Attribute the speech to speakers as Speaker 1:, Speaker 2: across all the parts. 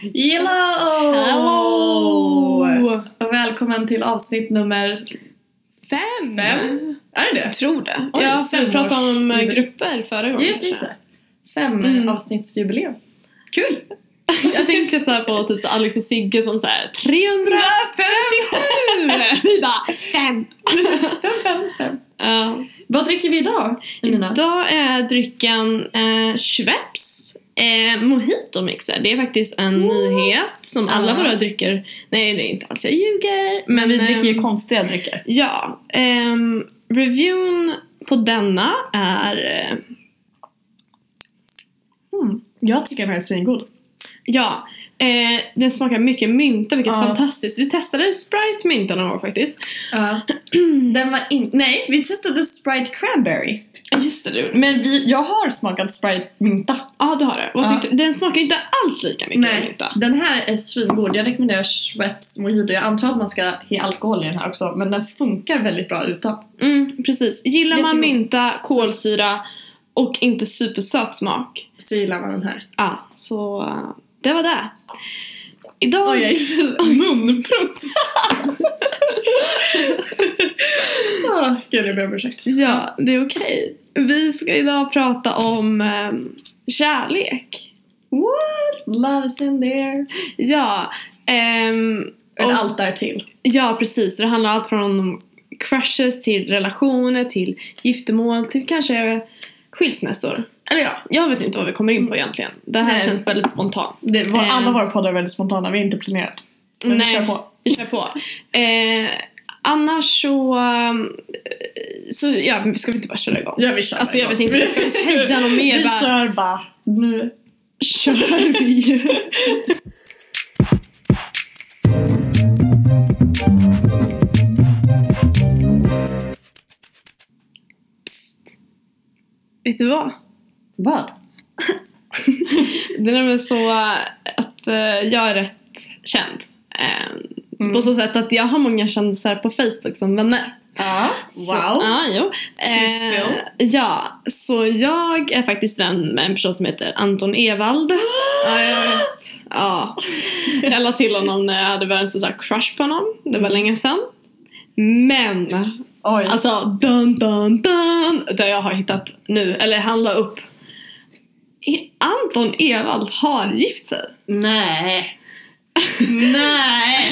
Speaker 1: Hello!
Speaker 2: Hello!
Speaker 1: Och välkommen till avsnitt nummer...
Speaker 2: Fem?
Speaker 1: Fem? Är det det?
Speaker 2: Jag tror det.
Speaker 1: Oj,
Speaker 2: jag
Speaker 1: fem
Speaker 2: pratade om eh,
Speaker 1: års-
Speaker 2: grupper förra gången.
Speaker 1: Just, just
Speaker 2: kanske.
Speaker 1: det. Fem
Speaker 2: Mm.
Speaker 1: avsnittsjubileum. Kul!
Speaker 2: Jag tänkte så här på typ så här Alex och Sigge som såhär 357! Vi bara fem!
Speaker 1: Fem, fem, fem.
Speaker 2: Ja.
Speaker 1: Vad dricker vi idag, Emina?
Speaker 2: Idag är drycken eh, Schweppes eh, Mojito Mixer. Det är faktiskt en nyhet som alla
Speaker 1: Ja.
Speaker 2: våra drycker... Nej, det är inte alls. Jag ljuger. Men, ehm,
Speaker 1: konstiga drycker.
Speaker 2: Ja, ehm, reviewn på denna är... eh,
Speaker 1: Jag tycker den här är svingod.
Speaker 2: Ja, eh, den smakar mycket mynta vilket
Speaker 1: Ja.
Speaker 2: är fantastiskt. Vi testade Sprite mynta någon gång faktiskt.
Speaker 1: Ja. den var in... Nej, vi testade Sprite Cranberry.
Speaker 2: Ja, Eh, Just det, du.
Speaker 1: Men vi... jag har smakat Sprite Mynta.
Speaker 2: Ja, det har du. Vad
Speaker 1: Ja.
Speaker 2: tyckte- Den smakar inte alls lika mycket mynta.
Speaker 1: den här är svingod. Jag rekommenderar Schweppes Mojito. Jag antar att man ska ha alkohol i den här också, men den funkar väldigt bra utan.
Speaker 2: Mm, precis. Gillar man
Speaker 1: Jättegod.
Speaker 2: mynta, kolsyra och inte supersöt smak.
Speaker 1: Så gillar man den här.
Speaker 2: Ja, så eh, det var det. Idag...
Speaker 1: Oj, jag är munprutt. Ah, Gud, jag ber om ursäkt.
Speaker 2: Ja, det är okej. Vi ska idag prata om eh, kärlek.
Speaker 1: What? Love's in the air.
Speaker 2: Ja, ehm,
Speaker 1: Och
Speaker 2: Och-
Speaker 1: allt där till.
Speaker 2: ja precis. Det handlar allt från crushes till relationer, till giftermål, till kanske skilsmässor. Eller ja, jag vet inte vad vi kommer in på egentligen. Det här
Speaker 1: Nej.
Speaker 2: känns väldigt spontant.
Speaker 1: Det var,
Speaker 2: Eh.
Speaker 1: Alla våra poddar är väldigt spontana, vi är inte planerat. Men vi
Speaker 2: Nej.
Speaker 1: kör på.
Speaker 2: Vi kör på. Eh, annars så... eh, så ja, ska vi inte bara köra igång?
Speaker 1: Ja, vi kör
Speaker 2: Alltså,
Speaker 1: bara
Speaker 2: jag vet
Speaker 1: igång.
Speaker 2: inte, jag ska säga något mer,
Speaker 1: Vi
Speaker 2: bara-
Speaker 1: kör bara. Nu
Speaker 2: kör vi. Psst. Vet du vad?
Speaker 1: Vad?
Speaker 2: Det är nämligen så eh, att eh, jag är rätt känd. Eh,
Speaker 1: Mm.
Speaker 2: På så sätt att jag har många kändisar på Facebook som vänner.
Speaker 1: Ja,
Speaker 2: Så, ja, jo. Eh,
Speaker 1: Peaceful.
Speaker 2: ja, så jag är faktiskt vän med en person som heter Anton Ewald. Ja, jag vet. Ja. Jag la till honom när jag hade världens största crush på honom. Det var länge sedan. Men,
Speaker 1: Oj.
Speaker 2: alltså dun dun dun. Det jag har hittat nu, eller han la upp. I- Anton Ewald har gift sig.
Speaker 1: nej. nej.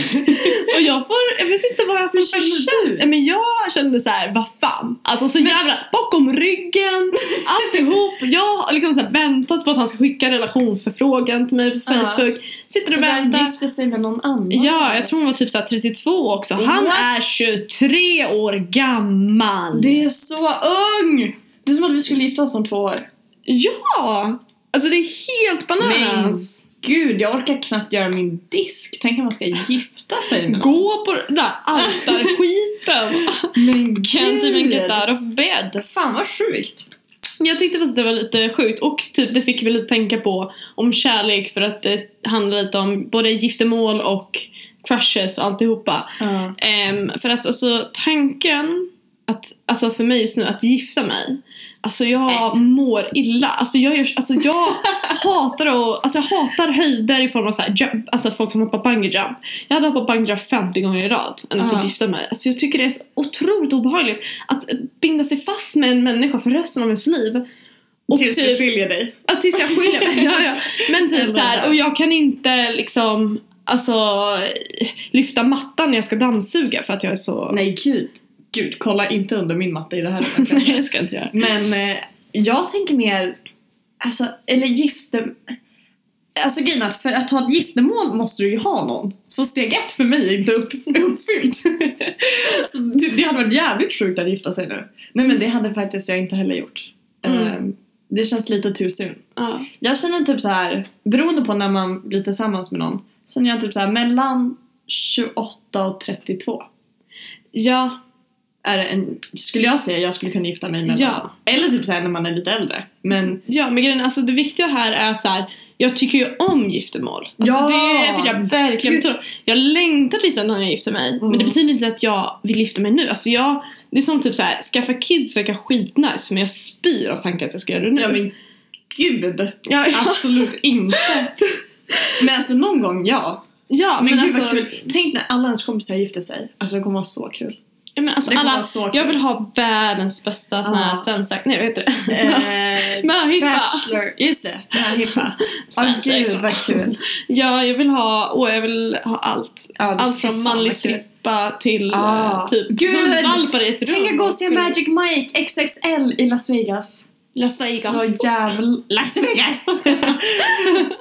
Speaker 2: Och jag får, jag vet inte vad jag får
Speaker 1: Hur känner du?
Speaker 2: Nej, Men jag kände så här, vad fan. Alltså så jävla bakom ryggen, alltihop. Jag har liksom så här väntat på att han ska skicka relationsförfrågan till mig på
Speaker 1: Ja.
Speaker 2: Facebook. Sitter
Speaker 1: Så
Speaker 2: och
Speaker 1: den
Speaker 2: väntar.
Speaker 1: gifte sig med någon annan?
Speaker 2: Ja, jag tror hon var typ så här 32 också. Han
Speaker 1: What?
Speaker 2: är 23 år gammal.
Speaker 1: Det är så ung! Det är som att vi skulle gifta oss om två år.
Speaker 2: Ja! Alltså det är helt bananas.
Speaker 1: gud, jag orkar knappt göra min disk. Tänk om man ska gifta sig med någon.
Speaker 2: Gå på den där altarskiten.
Speaker 1: Men
Speaker 2: Can't even get
Speaker 1: that.
Speaker 2: out of bed.
Speaker 1: typ Fan vad sjukt.
Speaker 2: Jag tyckte faktiskt att det var lite sjukt och typ det fick vi lite tänka på om kärlek för att det handlar lite om både giftermål och crushes och alltihopa.
Speaker 1: Ja.
Speaker 2: Ehm, för att alltså tanken att, alltså för mig just nu att gifta mig Alltså jag mår illa. Alltså jag, gör, alltså jag hatar och, alltså jag hatar höjder i form av så här jump, alltså folk som hoppar bungee jump. Jag hade hoppat bungee jump 50 gånger i rad än att
Speaker 1: Ja.
Speaker 2: typ gifta mig. Alltså jag tycker det är så otroligt obehagligt att binda sig fast med en människa för resten av ens liv. Och
Speaker 1: Tills du
Speaker 2: typ,
Speaker 1: skiljer dig.
Speaker 2: ja, tills jag skiljer mig. ja, ja. Men typ
Speaker 1: Eller
Speaker 2: så här,
Speaker 1: där.
Speaker 2: och jag kan inte liksom Alltså lyfta mattan när jag ska dammsuga för att jag är så...
Speaker 1: Nej gud. Gud, kolla inte under min matta i det här.
Speaker 2: Nej, jag ska inte göra.
Speaker 1: Men eh, jag tänker mer, alltså, eller gifte... Alltså grejen är att för att ha ett giftermål måste du ju ha någon. Så steg ett för mig är inte upp, uppfyllt. så det, det hade varit jävligt sjukt att gifta sig nu. Nej men det hade faktiskt jag inte heller gjort.
Speaker 2: Mm.
Speaker 1: Ehm, det känns lite too soon.
Speaker 2: Ja.
Speaker 1: Jag känner typ så här, beroende på när man blir tillsammans med någon, så känner jag typ så här mellan 28 och 32
Speaker 2: ja,
Speaker 1: är det en, skulle jag säga jag skulle kunna gifta mig med
Speaker 2: Ja.
Speaker 1: någon. Eller typ såhär när man är lite äldre. Men
Speaker 2: Ja, men grejen, alltså det viktiga här är att så här, jag tycker ju om giftermål. Alltså
Speaker 1: Ja!
Speaker 2: det vill jag verkligen betona. Jag längtar tills när jag gifter mig, men det
Speaker 1: Mm.
Speaker 2: betyder inte att jag vill gifta mig nu. Alltså jag Det är som typ så här, skaffa kids verkar skitnice men jag spyr av tanken att jag ska göra det nu.
Speaker 1: Ja men gud!
Speaker 2: ja, ja.
Speaker 1: Absolut inte. Men alltså någon gång ja.
Speaker 2: ja
Speaker 1: Men,
Speaker 2: men,
Speaker 1: gud vad
Speaker 2: alltså,
Speaker 1: kul. Tänk när alla ens kompisar gifter sig. Alltså det kommer vara så kul.
Speaker 2: ja, men alltså
Speaker 1: Det kommer
Speaker 2: alla,
Speaker 1: vara så kul.
Speaker 2: jag vill ha världens bästa sån här
Speaker 1: Ja.
Speaker 2: sensak, nej vad heter det?
Speaker 1: Eh,
Speaker 2: Möhippa!
Speaker 1: bachelor. Just det, möhippa. Åh
Speaker 2: Svensexa.
Speaker 1: gud vad kul.
Speaker 2: Ja, jag vill ha, åh jag vill ha allt.
Speaker 1: Ja, det-
Speaker 2: Allt
Speaker 1: fy
Speaker 2: från
Speaker 1: fan,
Speaker 2: manlig
Speaker 1: vad kul.
Speaker 2: strippa till
Speaker 1: Ah.
Speaker 2: eh, typ
Speaker 1: Gud!
Speaker 2: hundvalpar i ett rum.
Speaker 1: Tänk att gå och se
Speaker 2: Skulle-
Speaker 1: Magic Mike XXL i Las Vegas.
Speaker 2: Las Vegas.
Speaker 1: Så jävla... Las Vegas!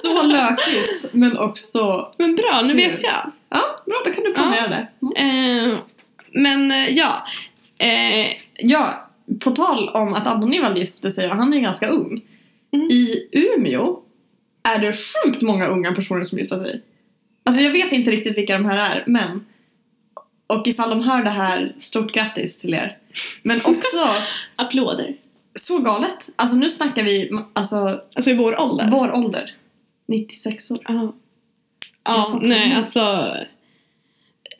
Speaker 1: så lökigt, men också...
Speaker 2: Men bra, nu
Speaker 1: Kul.
Speaker 2: vet jag.
Speaker 1: Ja, bra, då kan du planera det.
Speaker 2: Eh, men eh, ja. Eh,
Speaker 1: Ja, på tal om att Adonival gifte sig och han är ju ganska ung.
Speaker 2: Mm.
Speaker 1: I Umeå är det sjukt många unga personer som gifter sig. Alltså jag vet inte riktigt vilka de här är, men... Och ifall de hör det här, stort grattis till er. Men också,
Speaker 2: applåder.
Speaker 1: så galet. Alltså nu snackar vi alltså,
Speaker 2: Alltså i vår ålder.
Speaker 1: vår ålder. 96 år.
Speaker 2: Ja,
Speaker 1: Jag
Speaker 2: ja
Speaker 1: fattar
Speaker 2: nej
Speaker 1: inte.
Speaker 2: alltså.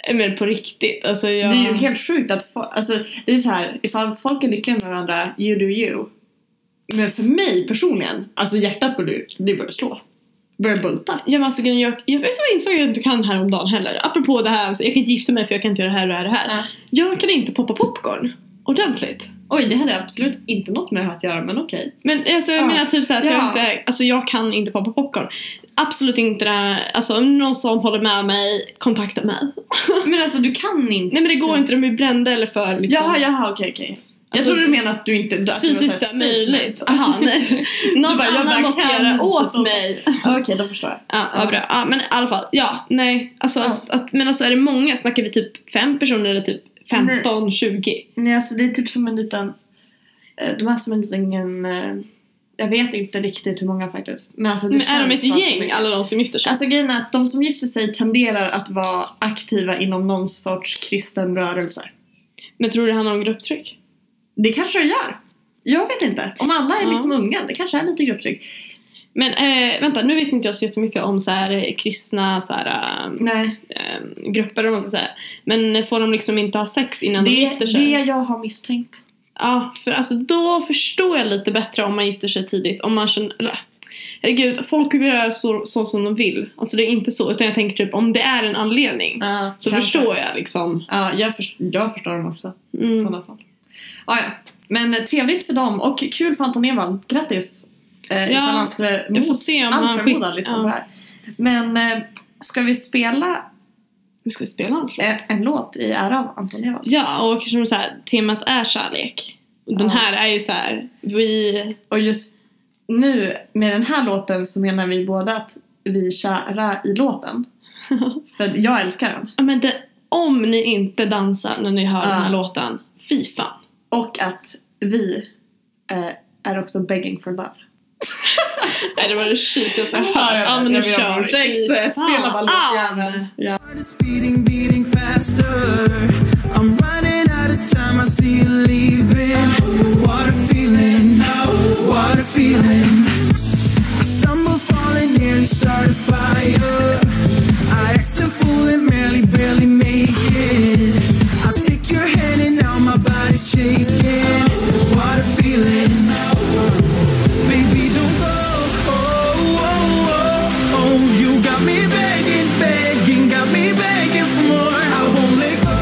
Speaker 2: eh, Men på riktigt. Alltså jag...
Speaker 1: Det är ju helt sjukt att folk, alltså det är så här, ifall folk är lyckliga med varandra, you do you. Men för mig personligen, alltså hjärtat börjar, det börjar slå. Börjar bulta.
Speaker 2: Ja, men alltså, grejen är, jag, jag vet vad jag insåg att jag inte kan häromdagen heller. Apropå det här, alltså, jag kan inte gifta mig för jag kan inte göra det här och det här. och det här.
Speaker 1: Nej.
Speaker 2: Jag kan inte poppa popcorn ordentligt.
Speaker 1: Oj, det hade absolut inte något med det här att göra, men okej.
Speaker 2: Men alltså, jag
Speaker 1: Ja.
Speaker 2: menar typ såhär att jag
Speaker 1: Ja.
Speaker 2: inte, alltså jag kan inte poppa popcorn. Absolut inte det här, alltså om någon som håller med mig, kontakta mig.
Speaker 1: Men alltså du kan inte.
Speaker 2: Nej men det går inte, de blir brända eller för liksom.
Speaker 1: Jaha, jaha, okej, okej. Jag
Speaker 2: Alltså,
Speaker 1: trodde du menade att du inte dött.
Speaker 2: Fysiskt såhär möjligt. Aha, nej. Någon
Speaker 1: liksom. bara, jag
Speaker 2: annan
Speaker 1: bara
Speaker 2: måste
Speaker 1: kan
Speaker 2: göra
Speaker 1: inte
Speaker 2: åt
Speaker 1: poppa.
Speaker 2: mig.
Speaker 1: Okej, då förstår jag.
Speaker 2: Ja, vad
Speaker 1: Ja.
Speaker 2: bra. Ja, men i alla fall. Ja, nej. Alltså,
Speaker 1: Ja.
Speaker 2: s- Att, men alltså är det många? Snackar vi typ fem personer eller typ
Speaker 1: Mm.
Speaker 2: 15, 20?
Speaker 1: Nej, alltså det är typ som en liten... eh, De är som en liten... eh, Jag vet inte riktigt hur många faktiskt. Men alltså det
Speaker 2: Men är de
Speaker 1: känns
Speaker 2: ett
Speaker 1: bara som
Speaker 2: gäng,
Speaker 1: en-
Speaker 2: alla de som gifter sig?
Speaker 1: Alltså grejen är att de som gifter sig tenderar att vara aktiva inom någon sorts kristen rörelse.
Speaker 2: Men tror du det handlar om grupptryck?
Speaker 1: Det kanske det gör. Jag vet inte. Om alla är
Speaker 2: Ja.
Speaker 1: liksom unga, det kanske är lite grupptryck.
Speaker 2: Men eh, vänta, nu vet inte jag så jättemycket om så här, eh, kristna så här, eh,
Speaker 1: Nej,
Speaker 2: eh, grupper eller vad man ska säga. Men får de liksom inte ha sex innan de
Speaker 1: det
Speaker 2: gifter
Speaker 1: är
Speaker 2: sig?
Speaker 1: det jag har misstänkt.
Speaker 2: Ja, för alltså då förstår jag lite bättre om man gifter sig tidigt. Om man känner... Eller, herregud, folk gör så, så som de vill. Alltså det är inte så, utan jag tänker typ om det är en anledning så förstår jag liksom.
Speaker 1: Ja, jag, förs- jag förstår dem också i
Speaker 2: Mm.
Speaker 1: sådana fall. Ah, ja. Men eh, trevligt för dem och kul för Anton Ewald. Grattis! Eh, ifall han skulle
Speaker 2: Jag får
Speaker 1: mot
Speaker 2: se om
Speaker 1: all
Speaker 2: han
Speaker 1: förmodan
Speaker 2: skickar...
Speaker 1: lyssna
Speaker 2: Ja.
Speaker 1: på det här. Men eh, ska vi spela
Speaker 2: Nu ska vi spela hans låt.
Speaker 1: eh, en låt i ära av Anton Ewald?
Speaker 2: Ja, och eftersom så här, temat är kärlek. Och Den
Speaker 1: Ja.
Speaker 2: här är ju så här, vi...
Speaker 1: Och just nu med den här låten så menar vi båda att vi är kära i låten. För jag älskar den.
Speaker 2: Ja, men det, om ni inte dansar när ni hör
Speaker 1: Ja.
Speaker 2: den här låten, fy fan.
Speaker 1: Och att vi eh, är också begging for love.
Speaker 2: Nej, det var det tjusigaste jag hört.
Speaker 1: Ja, jag
Speaker 2: Ja,
Speaker 1: vet.
Speaker 2: men nu
Speaker 1: Jag ber om
Speaker 2: kör vi.
Speaker 1: ursäkt.
Speaker 2: Fy
Speaker 1: eh, Spela
Speaker 2: fan.
Speaker 1: bara låten.
Speaker 3: Heart is beating, beating faster. I'm running out of time. I see you leaving. What a feeling! What a feeling! I stumble, falling, nearly start a fire. I act a fool and barely, barely make it. I take your hand and now my body's shaking. What a feeling! oh, Baby, don't go. Oh, oh, oh, oh. You got me begging, begging, got me begging for more. I won't let go.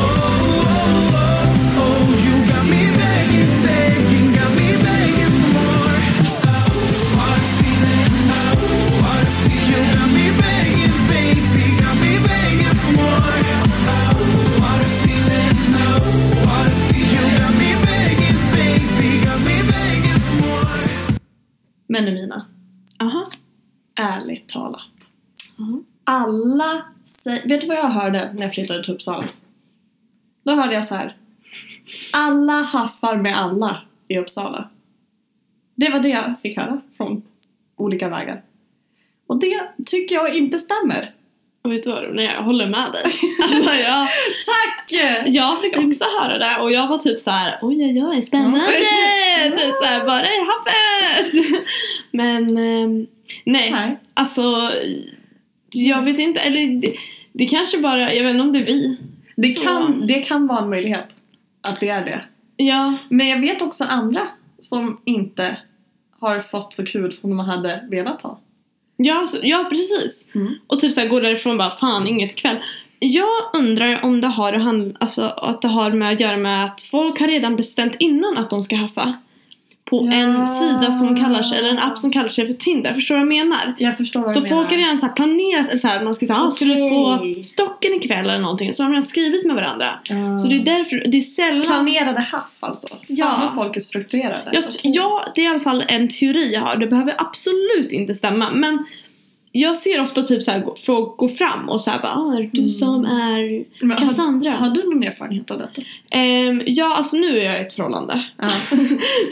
Speaker 3: Oh, oh, oh, oh. You got me begging, begging, got me begging for more. What a feeling, what a feeling. You got me begging, baby, got me begging for more. What a feeling, what a feeling. You got me begging, baby, got me begging for more.
Speaker 1: Men Emina,
Speaker 2: Ah. Aha.
Speaker 1: ärligt talat. Mm.
Speaker 2: Mhm.
Speaker 1: Alla säger... Vet du vad jag hörde när jag flyttade till Uppsala? Då hörde jag så här. Alla haffar med alla i Uppsala. Det var det jag fick höra från olika vägar. Och det tycker jag inte stämmer.
Speaker 2: Och vet du vad Nej, jag håller med dig. Alltså, jag,
Speaker 1: Tack!
Speaker 2: jag fick också höra det och jag var typ så här: oj oj oj spännande!
Speaker 1: Ja.
Speaker 2: Typ så här, bara i haffet! Men ehm, nej,
Speaker 1: Nej.
Speaker 2: alltså jag vet inte, eller det, det kanske bara, jag vet inte om det är vi.
Speaker 1: Det,
Speaker 2: Så.
Speaker 1: kan, det kan vara en möjlighet. att det är det.
Speaker 2: Ja,
Speaker 1: Men jag vet också andra som inte har fått så kul som de hade velat ha.
Speaker 2: ja, så, ja precis.
Speaker 1: Mm.
Speaker 2: Och typ så här, går därifrån bara fan inget ikväll. Jag undrar om det har, att handla- alltså, att det har med att göra med att folk har redan bestämt innan att de ska haffa. På
Speaker 1: Ja.
Speaker 2: en sida som kallar sig, eller en app som kallar sig för Tinder. Förstår du vad jag menar?
Speaker 1: Jag förstår vad
Speaker 2: Så
Speaker 1: du
Speaker 2: folk har
Speaker 1: menar.
Speaker 2: redan så här planerat, eller så här, man ska säga ah, ska du
Speaker 1: Okej.
Speaker 2: på stocken ikväll eller någonting. Så har man redan skrivit med varandra.
Speaker 1: Ja.
Speaker 2: Så det är därför, det är sällan...
Speaker 1: Planerade haff alltså. Fan
Speaker 2: Ja.
Speaker 1: vad folk är strukturerade. Alltså,
Speaker 2: Jag, ja, det är i alla fall en teori jag har. Det behöver absolut inte stämma. Men jag ser ofta typ så här, gå- folk gå fram och så här bara, ah, är det du som är
Speaker 1: Men Mm. har,
Speaker 2: Cassandra.
Speaker 1: har du någon erfarenhet av detta?
Speaker 2: Ehm, ja, alltså nu är jag i ett förhållande.
Speaker 1: Ja.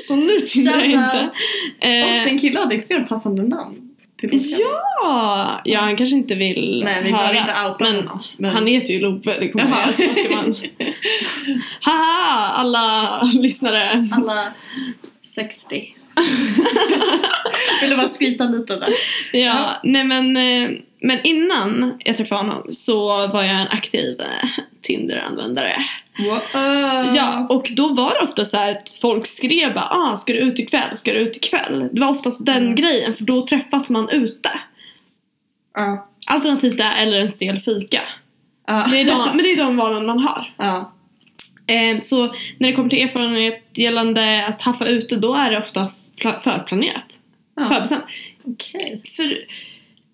Speaker 2: Så nu tindrar jag
Speaker 1: Tjena.
Speaker 2: inte.
Speaker 1: Och
Speaker 2: Ehm,
Speaker 1: den killen hade extremt passande namn. till podcasten.
Speaker 2: ja, ja, han kanske inte vill
Speaker 1: Nej, vi behöver inte outa
Speaker 2: men
Speaker 1: honom, men-
Speaker 2: han heter ju Love. Det kommer
Speaker 1: Jaha.
Speaker 2: jag göra, så vad ska man... Haha, alla lyssnare.
Speaker 1: Alla 60. Ville bara skryta lite där.
Speaker 2: Ja,
Speaker 1: Ja.
Speaker 2: nej men, eh, men innan jag träffade honom så var jag en aktiv eh, Tinder-användare.
Speaker 1: Wow.
Speaker 2: Ja, och då var det ofta så här att folk skrev bara ah, ska du ut ikväll, ska du ut ikväll? Det var oftast den
Speaker 1: Mm.
Speaker 2: grejen för då träffas man ute.
Speaker 1: Ja.
Speaker 2: Alternativt det eller en stel fika.
Speaker 1: Ja.
Speaker 2: Det är de, men det är de valen man har.
Speaker 1: Ja.
Speaker 2: Eh, så när det kommer till erfarenhet gällande att haffa ute då är det oftast pla- förplanerat.
Speaker 1: Ja.
Speaker 2: Förbestämt.
Speaker 1: Okej.
Speaker 2: För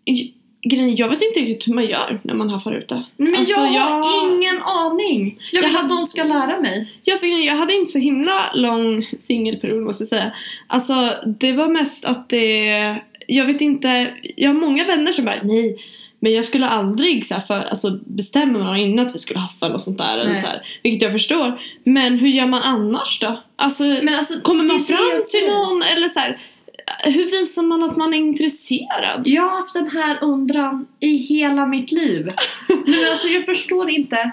Speaker 2: j- grejen, jag vet inte riktigt hur man gör när man haffar ute.
Speaker 1: Nej, Men
Speaker 2: Alltså,
Speaker 1: jag har
Speaker 2: jag-
Speaker 1: ingen aning. Jag vill
Speaker 2: Jag
Speaker 1: att
Speaker 2: hade-
Speaker 1: någon ska lära mig.
Speaker 2: Jag, fick, jag hade inte så himla lång singelperiod måste jag säga. Alltså det var mest att det... Jag vet inte, jag har många vänner som bara nej. Men jag skulle aldrig så här, för, alltså, bestämma mig innan att vi skulle haffa eller något sånt där. Eller
Speaker 1: Nej.
Speaker 2: så här, vilket jag förstår. Men hur gör man annars då? Alltså,
Speaker 1: Men alltså,
Speaker 2: kommer
Speaker 1: det är
Speaker 2: man
Speaker 1: det
Speaker 2: fram
Speaker 1: jag
Speaker 2: till
Speaker 1: säger.
Speaker 2: någon eller så här, Hur visar man att man är intresserad?
Speaker 1: Jag har haft den här undran i hela mitt liv. Nej, men alltså, jag förstår inte.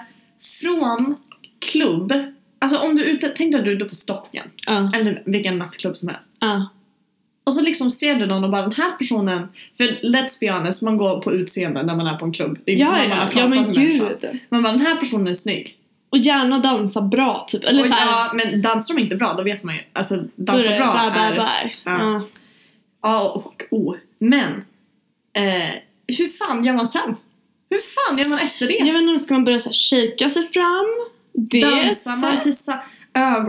Speaker 1: Från klubb. Alltså om du är ute, tänk dig att du är ute på Stocken.
Speaker 2: Ja.
Speaker 1: Eller vilken nattklubb som helst.
Speaker 2: ja.
Speaker 1: Och så liksom ser du någon och bara den här personen. För let's be honest, man går på utseende när man är på en klubb. Det är inte som
Speaker 2: Ja,
Speaker 1: när Liksom man har
Speaker 2: ja, ja
Speaker 1: pratat
Speaker 2: men
Speaker 1: med människan.
Speaker 2: gud.
Speaker 1: Man bara den här personen är snygg.
Speaker 2: Och gärna dansa bra typ. Eller
Speaker 1: Och
Speaker 2: så här,
Speaker 1: ja, men dansar de inte bra då vet man ju. Alltså
Speaker 2: då är
Speaker 1: dansar
Speaker 2: det
Speaker 1: bra
Speaker 2: bär, bär,
Speaker 1: är...
Speaker 2: bär.
Speaker 1: Ja.
Speaker 2: Ja.
Speaker 1: A och O. Men eh, hur fan gör man sen? Hur fan gör man efter det?
Speaker 2: Jag vet inte, ska man börja så här, shakea sig fram? Det är så
Speaker 1: Dansar
Speaker 2: här-
Speaker 1: man till sa-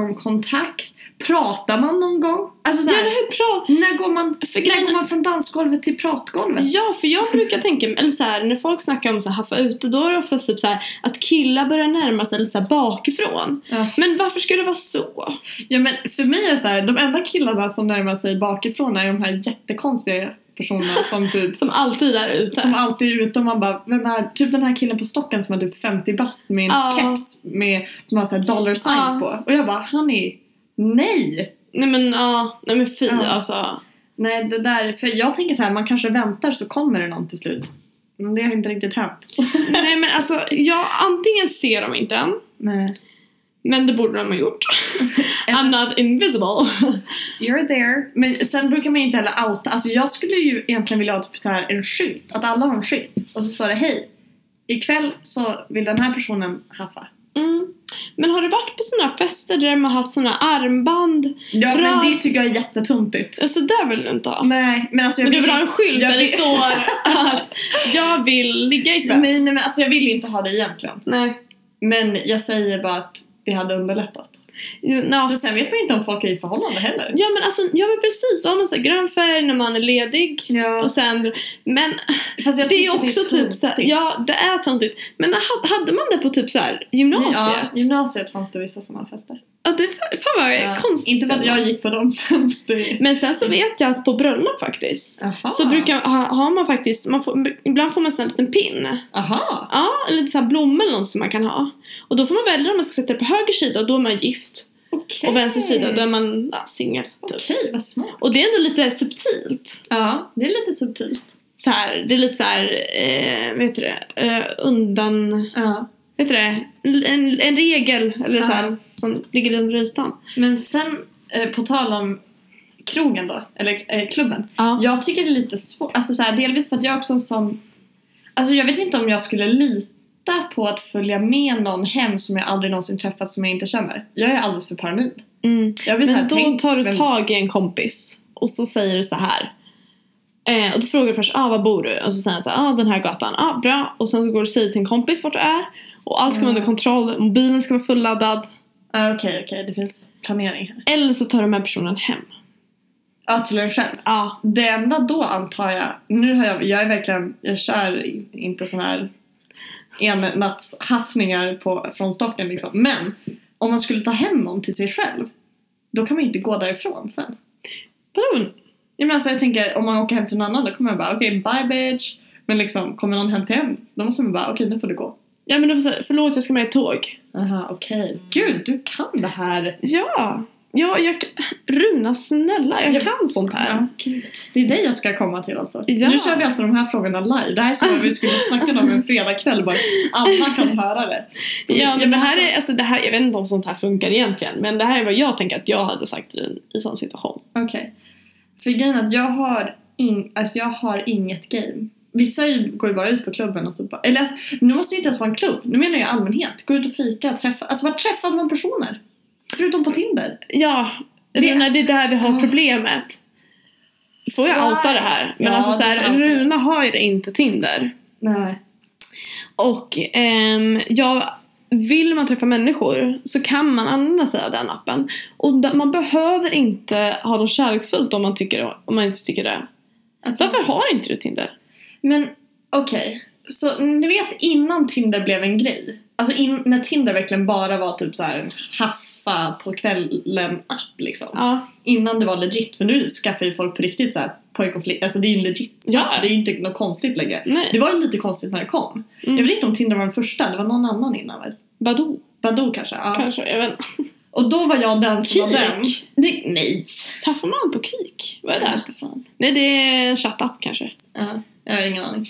Speaker 1: ögonkontakt? Pratar man någon gång? Alltså så
Speaker 2: Ja,
Speaker 1: här,
Speaker 2: eller hur bra?
Speaker 1: när, går man,
Speaker 2: För
Speaker 1: när
Speaker 2: grejen-
Speaker 1: går man från dansgolvet till pratgolvet?
Speaker 2: Ja, för jag brukar tänka, eller så här, när folk snackar om så här, haffa ute, då är det oftast typ så här, att killar börjar närma sig lite så här, bakifrån.
Speaker 1: Ja.
Speaker 2: Men varför ska det vara så?
Speaker 1: Ja men för mig är det så här, de enda killarna som närmar sig bakifrån är de här jättekonstiga personerna som typ
Speaker 2: Som alltid är ute.
Speaker 1: Som alltid är ute och man bara, vem är, typ den här killen på stocken som har typ 50 bast med en
Speaker 2: Ja.
Speaker 1: keps med, som har såhär dollar signs
Speaker 2: Ja.
Speaker 1: på. Och jag bara, han är, nej!
Speaker 2: Nej men ja, nej men fy
Speaker 1: Ja.
Speaker 2: alltså.
Speaker 1: Nej det där, för jag tänker så här, man kanske väntar så kommer det någon till slut. Men det har inte riktigt hänt.
Speaker 2: nej men alltså, jag antingen ser de inte än,
Speaker 1: Nej.
Speaker 2: men det borde de ha gjort. I'm not invisible.
Speaker 1: You're there. Men sen brukar man ju inte heller outa, alltså jag skulle ju egentligen vilja ha typ så här en skylt, att alla har en skylt. Och så står det hej, ikväll så vill den här personen haffa.
Speaker 2: Mm. Men har du varit på sådana fester där man har haft sådana armband?
Speaker 1: Ja
Speaker 2: Bra.
Speaker 1: men det tycker jag är jättetuntigt.
Speaker 2: Så där vill du inte ha.
Speaker 1: Nej men alltså jag
Speaker 2: Men du vill ha en skylt
Speaker 1: jag
Speaker 2: där det
Speaker 1: vill-
Speaker 2: står att jag vill ligga ikväll?
Speaker 1: Nej, nej men alltså jag vill ju inte ha det egentligen.
Speaker 2: Nej.
Speaker 1: Men jag säger bara att det hade underlättat.
Speaker 2: Jo, nå.
Speaker 1: För sen vet man ju inte om folk är i förhållande heller.
Speaker 2: Ja men alltså, ja men precis. Då har man så här grön färg när man är ledig.
Speaker 1: Ja.
Speaker 2: Och sen, men
Speaker 1: Fast jag
Speaker 2: det är ju
Speaker 1: tycker
Speaker 2: också typ
Speaker 1: töntigt.
Speaker 2: så här, ja det är töntigt. Men ha- hade man det på typ så här
Speaker 1: Ja,
Speaker 2: gymnasiet? Ja,
Speaker 1: gymnasiet fanns det vissa sådana fester.
Speaker 2: det var fan vad konstigt.
Speaker 1: Inte för att jag gick på dem sen. det-
Speaker 2: Men sen så vet jag att på bröllop faktiskt
Speaker 1: Aha.
Speaker 2: så brukar ha, har man faktiskt, man får, ibland får man en liten pin.
Speaker 1: Aha.
Speaker 2: Ja, en liten så här blomma eller något som man kan ha. Och då får man välja om man ska sätta det på höger sida och då är man gift.
Speaker 1: Okej.
Speaker 2: Och vänster sida då är man ja, singel. Typ.
Speaker 1: Okej, vad smart.
Speaker 2: Och det är ändå lite subtilt.
Speaker 1: Ja, det är lite subtilt.
Speaker 2: Så här, det är lite så här, eh, vad heter det, eh, undan,
Speaker 1: Ja.
Speaker 2: vad heter det, en, en regel eller så här,
Speaker 1: Ja.
Speaker 2: som ligger under ytan.
Speaker 1: Men sen, eh, på tal om krogen då, eller eh, klubben.
Speaker 2: Ja.
Speaker 1: Jag tycker det är lite svårt, alltså så här, delvis för att jag också är en sån... Alltså jag vet inte om jag skulle lita... lätta på att följa med någon hem som jag aldrig någonsin träffat som jag inte känner. Jag är alldeles för paranoid.
Speaker 2: Mm.
Speaker 1: Jag blir så här,
Speaker 2: Men då
Speaker 1: tänk-
Speaker 2: tar du
Speaker 1: men-
Speaker 2: tag i en kompis och så säger du så här. Eh, och då frågar du först, ah, var bor du? Och så säger han så här, ah, den här gatan, ah, bra. Och sen så går du och säger till en kompis vart du är. Och allt ska vara
Speaker 1: Ja.
Speaker 2: under kontroll, mobilen ska vara fulladdad.
Speaker 1: Ah, Okej, okej, det finns planering här.
Speaker 2: Eller så tar du med personen hem.
Speaker 1: Ja, till en själv.
Speaker 2: Ja,
Speaker 1: Det enda då antar jag, nu har jag, jag är verkligen, jag kör i- inte sån här ennattshaffningar på, från stocken liksom. Men om man skulle ta hem någon till sig själv, då kan man ju inte gå därifrån sen.
Speaker 2: vadå?
Speaker 1: Ja, men alltså, jag tänker, om man åker hem till någon annan då kommer man bara okej, bye bitch. Men liksom, kommer någon hem till hem, då måste man bara okej, nu får du gå.
Speaker 2: Ja men då får jag säga, förlåt jag ska med i tåg.
Speaker 1: Aha, okej. Gud, du kan det här.
Speaker 2: Ja, ja jag, k- Runa snälla jag
Speaker 1: Ja.
Speaker 2: kan sånt här.
Speaker 1: Ja, gud. Det är dig jag ska komma till alltså.
Speaker 2: Ja.
Speaker 1: Nu kör vi alltså de här frågårna live. Det här är som om vi skulle snacka om en fredagkväll bara. Alla kan höra det.
Speaker 2: Ja, men det här
Speaker 1: alltså-
Speaker 2: är, alltså, det här, jag vet inte om sånt här funkar egentligen men det här är vad jag tänker att jag hade sagt i en i sån situation.
Speaker 1: Okej. För grejen är att jag har, in, alltså jag har inget game. Vissa ju- går ju bara ut på klubben och så bara, eller alltså, nu måste det ju inte ens vara en klubb. Nu menar jag allmänhet. Gå ut och fika, träffa, alltså var träffar man personer? Förutom på Tinder.
Speaker 2: Ja,
Speaker 1: Det-
Speaker 2: Runa det är där vi har
Speaker 1: Ah.
Speaker 2: problemet. Får jag
Speaker 1: Ja.
Speaker 2: outa det här? Men
Speaker 1: Ja,
Speaker 2: alltså så
Speaker 1: du får
Speaker 2: här,
Speaker 1: outa det.
Speaker 2: Runa har ju inte Tinder.
Speaker 1: Nej.
Speaker 2: Och ehm, ja, vill man träffa människor så kan man använda sig av den appen. Och da- man behöver inte ha något kärleksfullt om man, tycker, om man inte tycker det.
Speaker 1: Alltså,
Speaker 2: Varför har inte du Tinder?
Speaker 1: Men okej, så ni vet innan Tinder blev en grej. Alltså in, när Tinder verkligen bara var typ så här en haffa på kvällen-app liksom.
Speaker 2: Ja.
Speaker 1: Innan det var legit, för nu skaffar ju folk på riktigt så här pojk och flicka. Alltså det är ju en legit
Speaker 2: Ja.
Speaker 1: Det är ju inte något konstigt längre.
Speaker 2: Nej.
Speaker 1: Det var ju lite konstigt när det kom.
Speaker 2: Mm.
Speaker 1: Jag vet inte om Tinder var den första, det var någon annan innan väl?
Speaker 2: Badoo
Speaker 1: Badoo kanske? Ja.
Speaker 2: kanske, jag vet inte.
Speaker 1: Och då var jag den som var
Speaker 2: Kik.
Speaker 1: den. Det, nej!
Speaker 2: Saffar man på Kik? Vad är
Speaker 1: Jag
Speaker 2: det?
Speaker 1: vet inte fan.
Speaker 2: Nej, det är en chattapp kanske.
Speaker 1: Ja, jag har ingen aning.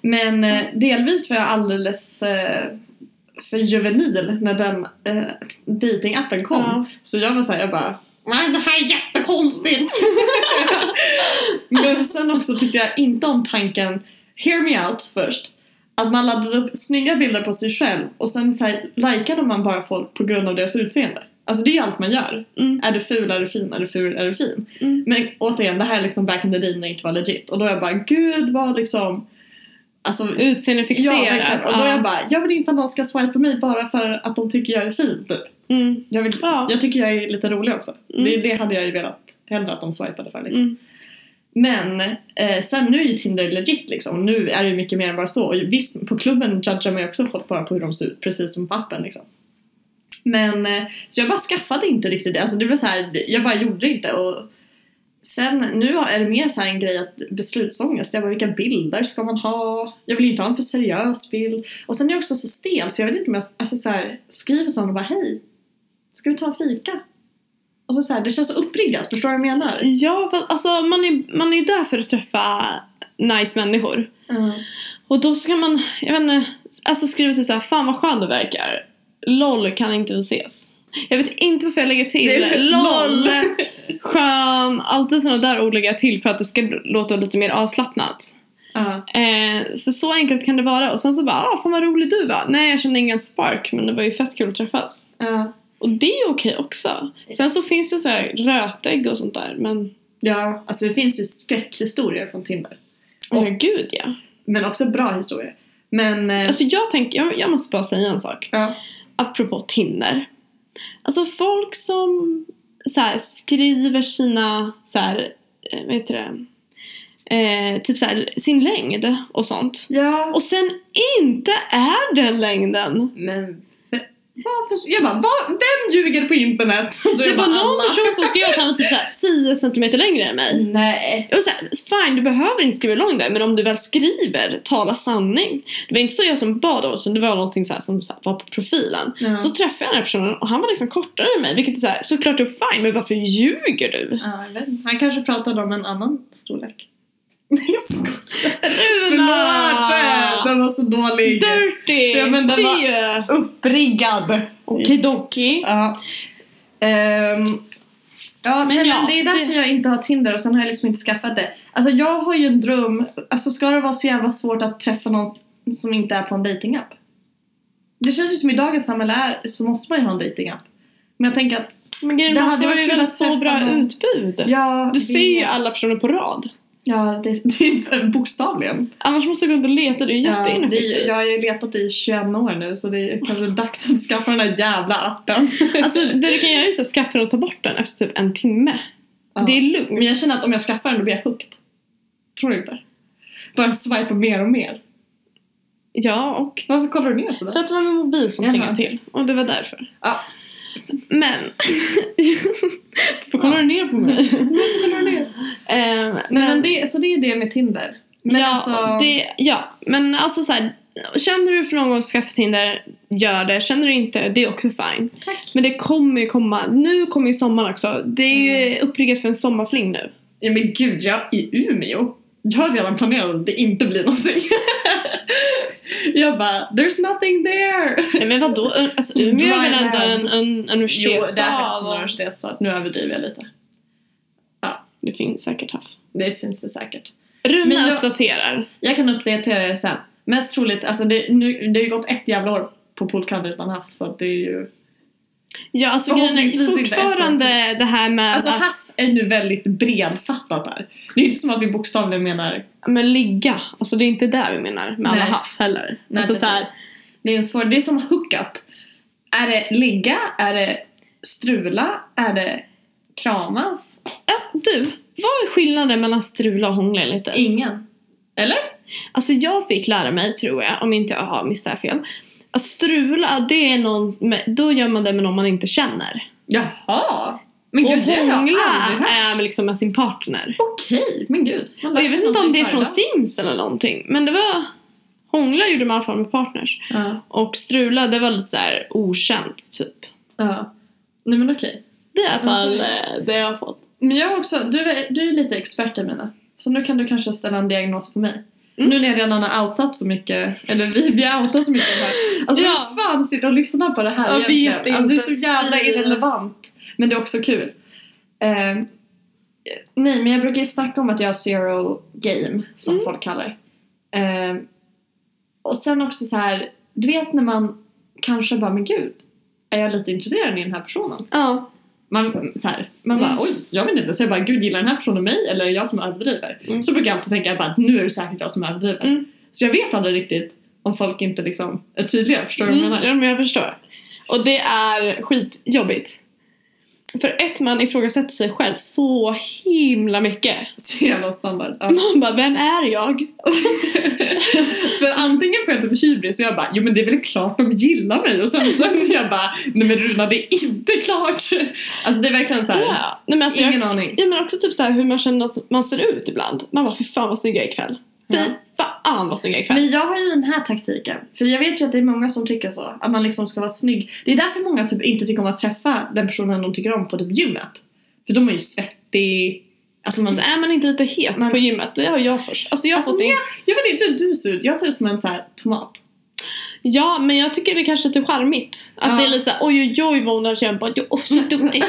Speaker 1: Men eh, delvis var jag alldeles eh, för juvenil när den eh, datingappen kom.
Speaker 2: Ja.
Speaker 1: Så jag var såhär, jag bara Nej det här är jättekonstigt! Men sen också tyckte jag inte om tanken, hear me out först. Att man laddade upp snygga bilder på sig själv och sen så här, likade man bara folk på grund av deras utseende. Alltså det är allt man gör.
Speaker 2: Mm.
Speaker 1: Är du ful, är du fin, är du ful, är du fin.
Speaker 2: Mm.
Speaker 1: Men återigen, det här är liksom back in the day när det inte var legit. Och då är jag bara, gud vad liksom... Alltså, ja,
Speaker 2: Utseendefixerad.
Speaker 1: verkligen. Och då är jag bara, jag vill inte att någon ska swipa på mig bara för att de tycker jag är fin typ.
Speaker 2: mm.
Speaker 1: Jag, vill,
Speaker 2: Ja.
Speaker 1: jag tycker jag är lite rolig också.
Speaker 2: Mm.
Speaker 1: Det, det hade jag ju velat hellre att de swipade för. Liksom.
Speaker 2: Mm.
Speaker 1: Men eh, sen nu är ju Tinder legit liksom. Nu är det ju mycket mer än bara så. Och visst, på klubben judgar man ju också folk bara på hur de ser ut. Precis som på appen liksom. Men eh, så jag bara skaffade inte riktigt det. Alltså det var så här, jag bara gjorde inte. Och sen nu är det mer så här en grej att beslutsångest. Jag bara vilka bilder ska man ha? Jag vill inte ha en för seriös bild. Och sen är jag också så stel så jag vet inte om jag alltså så här, skriver till någon och bara hej. Ska vi ta en fika? Och så, så här, det känns så uppriggat. Förstår du vad jag menar?
Speaker 2: Ja, fast, alltså man är, man är där för att träffa nice människor. Och då ska man, jag vet inte, alltså skriva typ såhär, fan vad skön du verkar. LOL kan inte vi ses. Jag vet inte varför jag lägger till
Speaker 1: Det är-
Speaker 2: LOL, skön, alltid sådana där ord lägger jag till för att det ska låta lite mer avslappnat.
Speaker 1: Ja.
Speaker 2: Eh, för så enkelt kan det vara. Och sen så bara, ah, fan vad rolig du var. Nej, jag kände ingen spark, men det var ju fett kul att träffas.
Speaker 1: Ja.
Speaker 2: Och det är ju okej också. Sen så finns det så här rötägg och sånt där, men
Speaker 1: ja, alltså det finns ju skräckhistorier från Tinder.
Speaker 2: åh
Speaker 1: Mm.
Speaker 2: gud ja.
Speaker 1: Men också bra historier. Men... eh,
Speaker 2: Alltså jag tänker, jag, jag måste bara säga en sak.
Speaker 1: ja.
Speaker 2: Apropå Tinder. Alltså folk som så här, skriver sina, så här, eh, vad heter det? Eh, typ så här, sin längd och sånt.
Speaker 1: ja.
Speaker 2: Och sen inte är den längden.
Speaker 1: Men v- varför... Jag bara, vad- vem ljuger på internet? Så jag
Speaker 2: Det var
Speaker 1: bara,
Speaker 2: någon
Speaker 1: alla.
Speaker 2: person som skrev att han var typ såhär 10 centimeter längre än mig.
Speaker 1: Nej.
Speaker 2: Jag var såhär, fine du behöver inte skriva långt där men om du väl skriver, tala sanning. Det var inte så jag som bad om det, utan det var någonting så här som så här, var på profilen.
Speaker 1: Ja.
Speaker 2: Så träffade jag den här personen och han var liksom kortare än mig vilket är såhär, såklart du är fine men varför ljuger du?
Speaker 1: Ja, jag vet inte. Han kanske pratade om en annan storlek. Nej, jag skojar.
Speaker 2: Runa!
Speaker 1: Den var så dålig.
Speaker 2: Dirty!
Speaker 1: Ja, men den var-
Speaker 2: Fy!
Speaker 1: Uppriggad.
Speaker 2: Okidoki.
Speaker 1: Ja. Ehm, ja, men,
Speaker 2: ja,
Speaker 1: men det är därför
Speaker 2: det-
Speaker 1: jag inte har Tinder och sen har jag liksom inte skaffat det. Alltså jag har ju en dröm, alltså ska det vara så jävla svårt att träffa någon som inte är på en datingapp? Det känns ju som i dagens samhälle är, så måste man ju ha en datingapp. Men jag tänker att...
Speaker 2: Men grejen
Speaker 1: Det
Speaker 2: är man
Speaker 1: hade
Speaker 2: får
Speaker 1: varit
Speaker 2: ju
Speaker 1: kul
Speaker 2: väldigt
Speaker 1: att
Speaker 2: så
Speaker 1: träffa
Speaker 2: bra
Speaker 1: någon.
Speaker 2: utbud.
Speaker 1: Ja,
Speaker 2: Du
Speaker 1: det-
Speaker 2: ser ju alla personer på rad.
Speaker 1: Ja, det, det är bokstavligen.
Speaker 2: Annars måste du gå runt och leta, det är
Speaker 1: Ja, det,
Speaker 2: jätteineffektivt.
Speaker 1: jag har ju letat i 21 år nu så det är kanske dags att skaffa den där jävla appen.
Speaker 2: Alltså det du kan göra är att skaffa den och ta bort den efter typ en timme.
Speaker 1: Ja.
Speaker 2: Det är lugnt.
Speaker 1: Men jag känner att om jag skaffar den då blir jag hooked. Tror du inte? Bara swipa mer och mer.
Speaker 2: Ja, och
Speaker 1: Varför kollar du ner
Speaker 2: För
Speaker 1: sådär?
Speaker 2: att det var min mobil som
Speaker 1: Jaha.
Speaker 2: plingade till. Och det var därför.
Speaker 1: Ja.
Speaker 2: Men. Varför kollar
Speaker 1: Ja.
Speaker 2: du ner på mig?
Speaker 1: Varför kollar du ner?
Speaker 2: Ehm,
Speaker 1: Nej, men det, så det är det med Tinder. Men
Speaker 2: ja,
Speaker 1: alltså,
Speaker 2: det, ja, men alltså så här, Känner du för någon gång att skaffa Tinder, gör det. Känner du inte, det är också fine.
Speaker 1: Tack.
Speaker 2: Men det kommer ju komma. Nu kommer ju sommaren också. Det är ju uppriggat för en sommarfling nu.
Speaker 1: Ja, men gud, jag i Umeå. Jag har redan planerat att det inte blir någonting. jag bara, there's nothing there.
Speaker 2: Nej men vadå? Alltså, Umeå är väl
Speaker 1: Dry
Speaker 2: ändå en, en universitetsstad? Alltså.
Speaker 1: en
Speaker 2: och-
Speaker 1: universitetsstad. Nu överdriver jag lite.
Speaker 2: Det finns säkert haft.
Speaker 1: Det finns det säkert.
Speaker 2: Runa
Speaker 1: Men jag-
Speaker 2: uppdaterar.
Speaker 1: Jag kan uppdatera er sen. Mest troligt, alltså det, nu, det har ju gått ett jävla år på Polkand utan haft så att det är ju...
Speaker 2: Ja, alltså grejen är
Speaker 1: Förhoppningsvis inte
Speaker 2: fortfarande det här med
Speaker 1: Alltså
Speaker 2: att
Speaker 1: haft är nu väldigt bredfattat där. Det är ju inte som att vi bokstavligen menar...
Speaker 2: Men ligga, alltså det är inte där vi menar med alla
Speaker 1: Nej.
Speaker 2: haff heller.
Speaker 1: Nej,
Speaker 2: alltså
Speaker 1: precis.
Speaker 2: så här,
Speaker 1: Det är en svår... Det är som hookup. Är det ligga? Är det strula? Är det kramas?
Speaker 2: ja, du, vad är skillnaden mellan strula och hångla lite?
Speaker 1: Ingen. Eller?
Speaker 2: Alltså jag fick lära mig, tror jag, om inte jag har missat det här fel. Att strula, det är någon, med, då gör man det med någon man inte känner.
Speaker 1: Jaha! Men
Speaker 2: och
Speaker 1: gud, det har jag
Speaker 2: hångla
Speaker 1: aldrig hört.
Speaker 2: är med liksom med sin partner.
Speaker 1: Okej, men gud. Man
Speaker 2: Och jag
Speaker 1: läser
Speaker 2: vet inte om
Speaker 1: någonting
Speaker 2: det är
Speaker 1: varje
Speaker 2: från
Speaker 1: dag.
Speaker 2: Sims eller någonting, men det var... Hångla gjorde man i alla fall med partners.
Speaker 1: Ja.
Speaker 2: Och strula, det var lite så här okänt, typ.
Speaker 1: ja. Nej men okej.
Speaker 2: Det är i alla fall
Speaker 1: Alltså-
Speaker 2: eh, det jag har fått.
Speaker 1: Men jag har också, du är, du är lite expert Emina. Så nu kan du kanske ställa en diagnos på mig.
Speaker 2: Mm.
Speaker 1: Nu när jag redan har outat så mycket, eller vi, vi har outat så mycket om det här. Alltså
Speaker 2: Ja.
Speaker 1: hur fan sitter och lyssnar på det här
Speaker 2: Jag vet
Speaker 1: egentligen? Alltså det är så
Speaker 2: inte.
Speaker 1: jävla
Speaker 2: Fy.
Speaker 1: irrelevant. Men det är också kul. Eh, nej men jag brukar ju snacka om att jag har zero game, som
Speaker 2: Mm.
Speaker 1: folk kallar det. Eh, och sen också så här, du vet när man kanske bara, men gud, är jag lite intresserad i den här personen?
Speaker 2: Ja.
Speaker 1: man, så här, man
Speaker 2: Mm.
Speaker 1: bara oj, jag vet inte. Så jag bara gud gillar den här personen mig eller är det jag som överdriver?
Speaker 2: Mm.
Speaker 1: Så brukar jag alltid tänka bara, att nu är det säkert jag som överdriver.
Speaker 2: Mm.
Speaker 1: Så jag vet aldrig riktigt om folk inte liksom är tydliga, förstår du vad jag
Speaker 2: Mm,
Speaker 1: menar?
Speaker 2: ja, men jag förstår. Och det är skitjobbigt. För ett, man ifrågasätter sig själv så himla mycket.
Speaker 1: Så jävla standard. Ja.
Speaker 2: Man bara, vem är jag?
Speaker 1: För antingen får jag typ hybris och jag bara jo men det är väl klart de gillar mig och sen, sen jag bara nej men Runa det är inte klart. Alltså det är verkligen så här,
Speaker 2: Ja. Nej, men alltså jag,
Speaker 1: ingen aning.
Speaker 2: ja, men också typ så här hur man känner att man ser ut ibland. Man bara, fy fan vad snygg jag är ikväll. Fy
Speaker 1: Ja.
Speaker 2: fan vad snygg jag är ikväll.
Speaker 1: Men jag har ju den här taktiken. För jag vet ju att det är många som tycker så. Att man liksom ska vara snygg. Det är därför många typ inte tycker om att träffa den personen de tycker om på typ gymmet. För de är ju svettig. Alltså man...
Speaker 2: Men, så är man inte lite het
Speaker 1: Man-
Speaker 2: på gymmet, det har jag först. Alltså jag har
Speaker 1: Alltså,
Speaker 2: fått det.
Speaker 1: nej. Jag vet inte hur du ser ut. Jag ser ut som en så här tomat.
Speaker 2: Ja, men jag tycker det kanske är lite charmigt. Att
Speaker 1: Ja. Mm.
Speaker 2: det är lite såhär, oj oj oj vad hon har kämpat, jag är så duktig.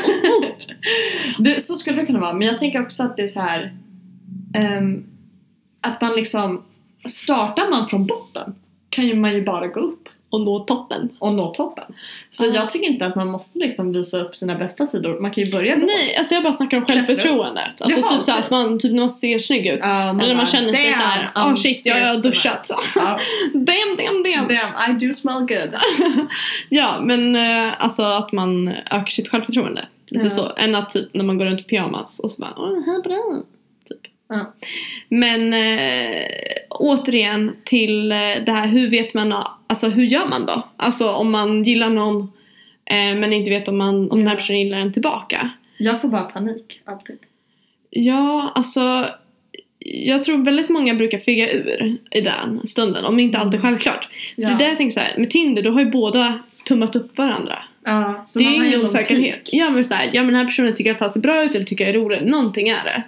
Speaker 1: Det, så skulle det kunna vara. Men jag tänker också att det är så här. ehm, att man liksom. Startar man från botten kan ju man ju bara gå upp
Speaker 2: Och nå toppen.
Speaker 1: och nå toppen. Så
Speaker 2: Ja.
Speaker 1: jag tycker inte att man måste liksom visa upp sina bästa sidor. Man kan ju börja lågt.
Speaker 2: Nej, alltså jag bara snackar om
Speaker 1: Klättra upp.
Speaker 2: självförtroendet. Alltså
Speaker 1: Jaha,
Speaker 2: typ så här
Speaker 1: okej.
Speaker 2: att man, typ när man ser snygg ut.
Speaker 1: Ja,
Speaker 2: Eller
Speaker 1: bara,
Speaker 2: man känner sig
Speaker 1: "Damn, oh,
Speaker 2: så här, ah
Speaker 1: I'm
Speaker 2: shit, jag har
Speaker 1: fierce
Speaker 2: duschat.
Speaker 1: Ja.
Speaker 2: damn, damn, damn.
Speaker 1: Damn, I do smell good.
Speaker 2: Ja, men eh, alltså att man ökar sitt självförtroende. Lite
Speaker 1: Ja.
Speaker 2: så. Än att typ när man går runt i pyjamas och så bara, åh, hej på dig. Typ.
Speaker 1: Ja.
Speaker 2: Men eh, återigen till eh, det här, hur vet man, alltså hur gör man då? Alltså om man gillar någon eh, men inte vet om, man, om den här personen gillar en tillbaka.
Speaker 1: Jag får bara panik, alltid.
Speaker 2: Ja, alltså. Jag tror väldigt många brukar fega ur i den stunden, om inte allt är självklart.
Speaker 1: Mm. Ja.
Speaker 2: För det där jag tänker så här, med Tinder, då har ju båda tummat upp varandra.
Speaker 1: Ja, så
Speaker 2: det
Speaker 1: man
Speaker 2: är
Speaker 1: har
Speaker 2: ju ingen
Speaker 1: någon
Speaker 2: osäkerhet.
Speaker 1: peak.
Speaker 2: Ja men, så här, ja men den här personen tycker i alla fall ser bra ut eller tycker jag är rolig. Någonting är det.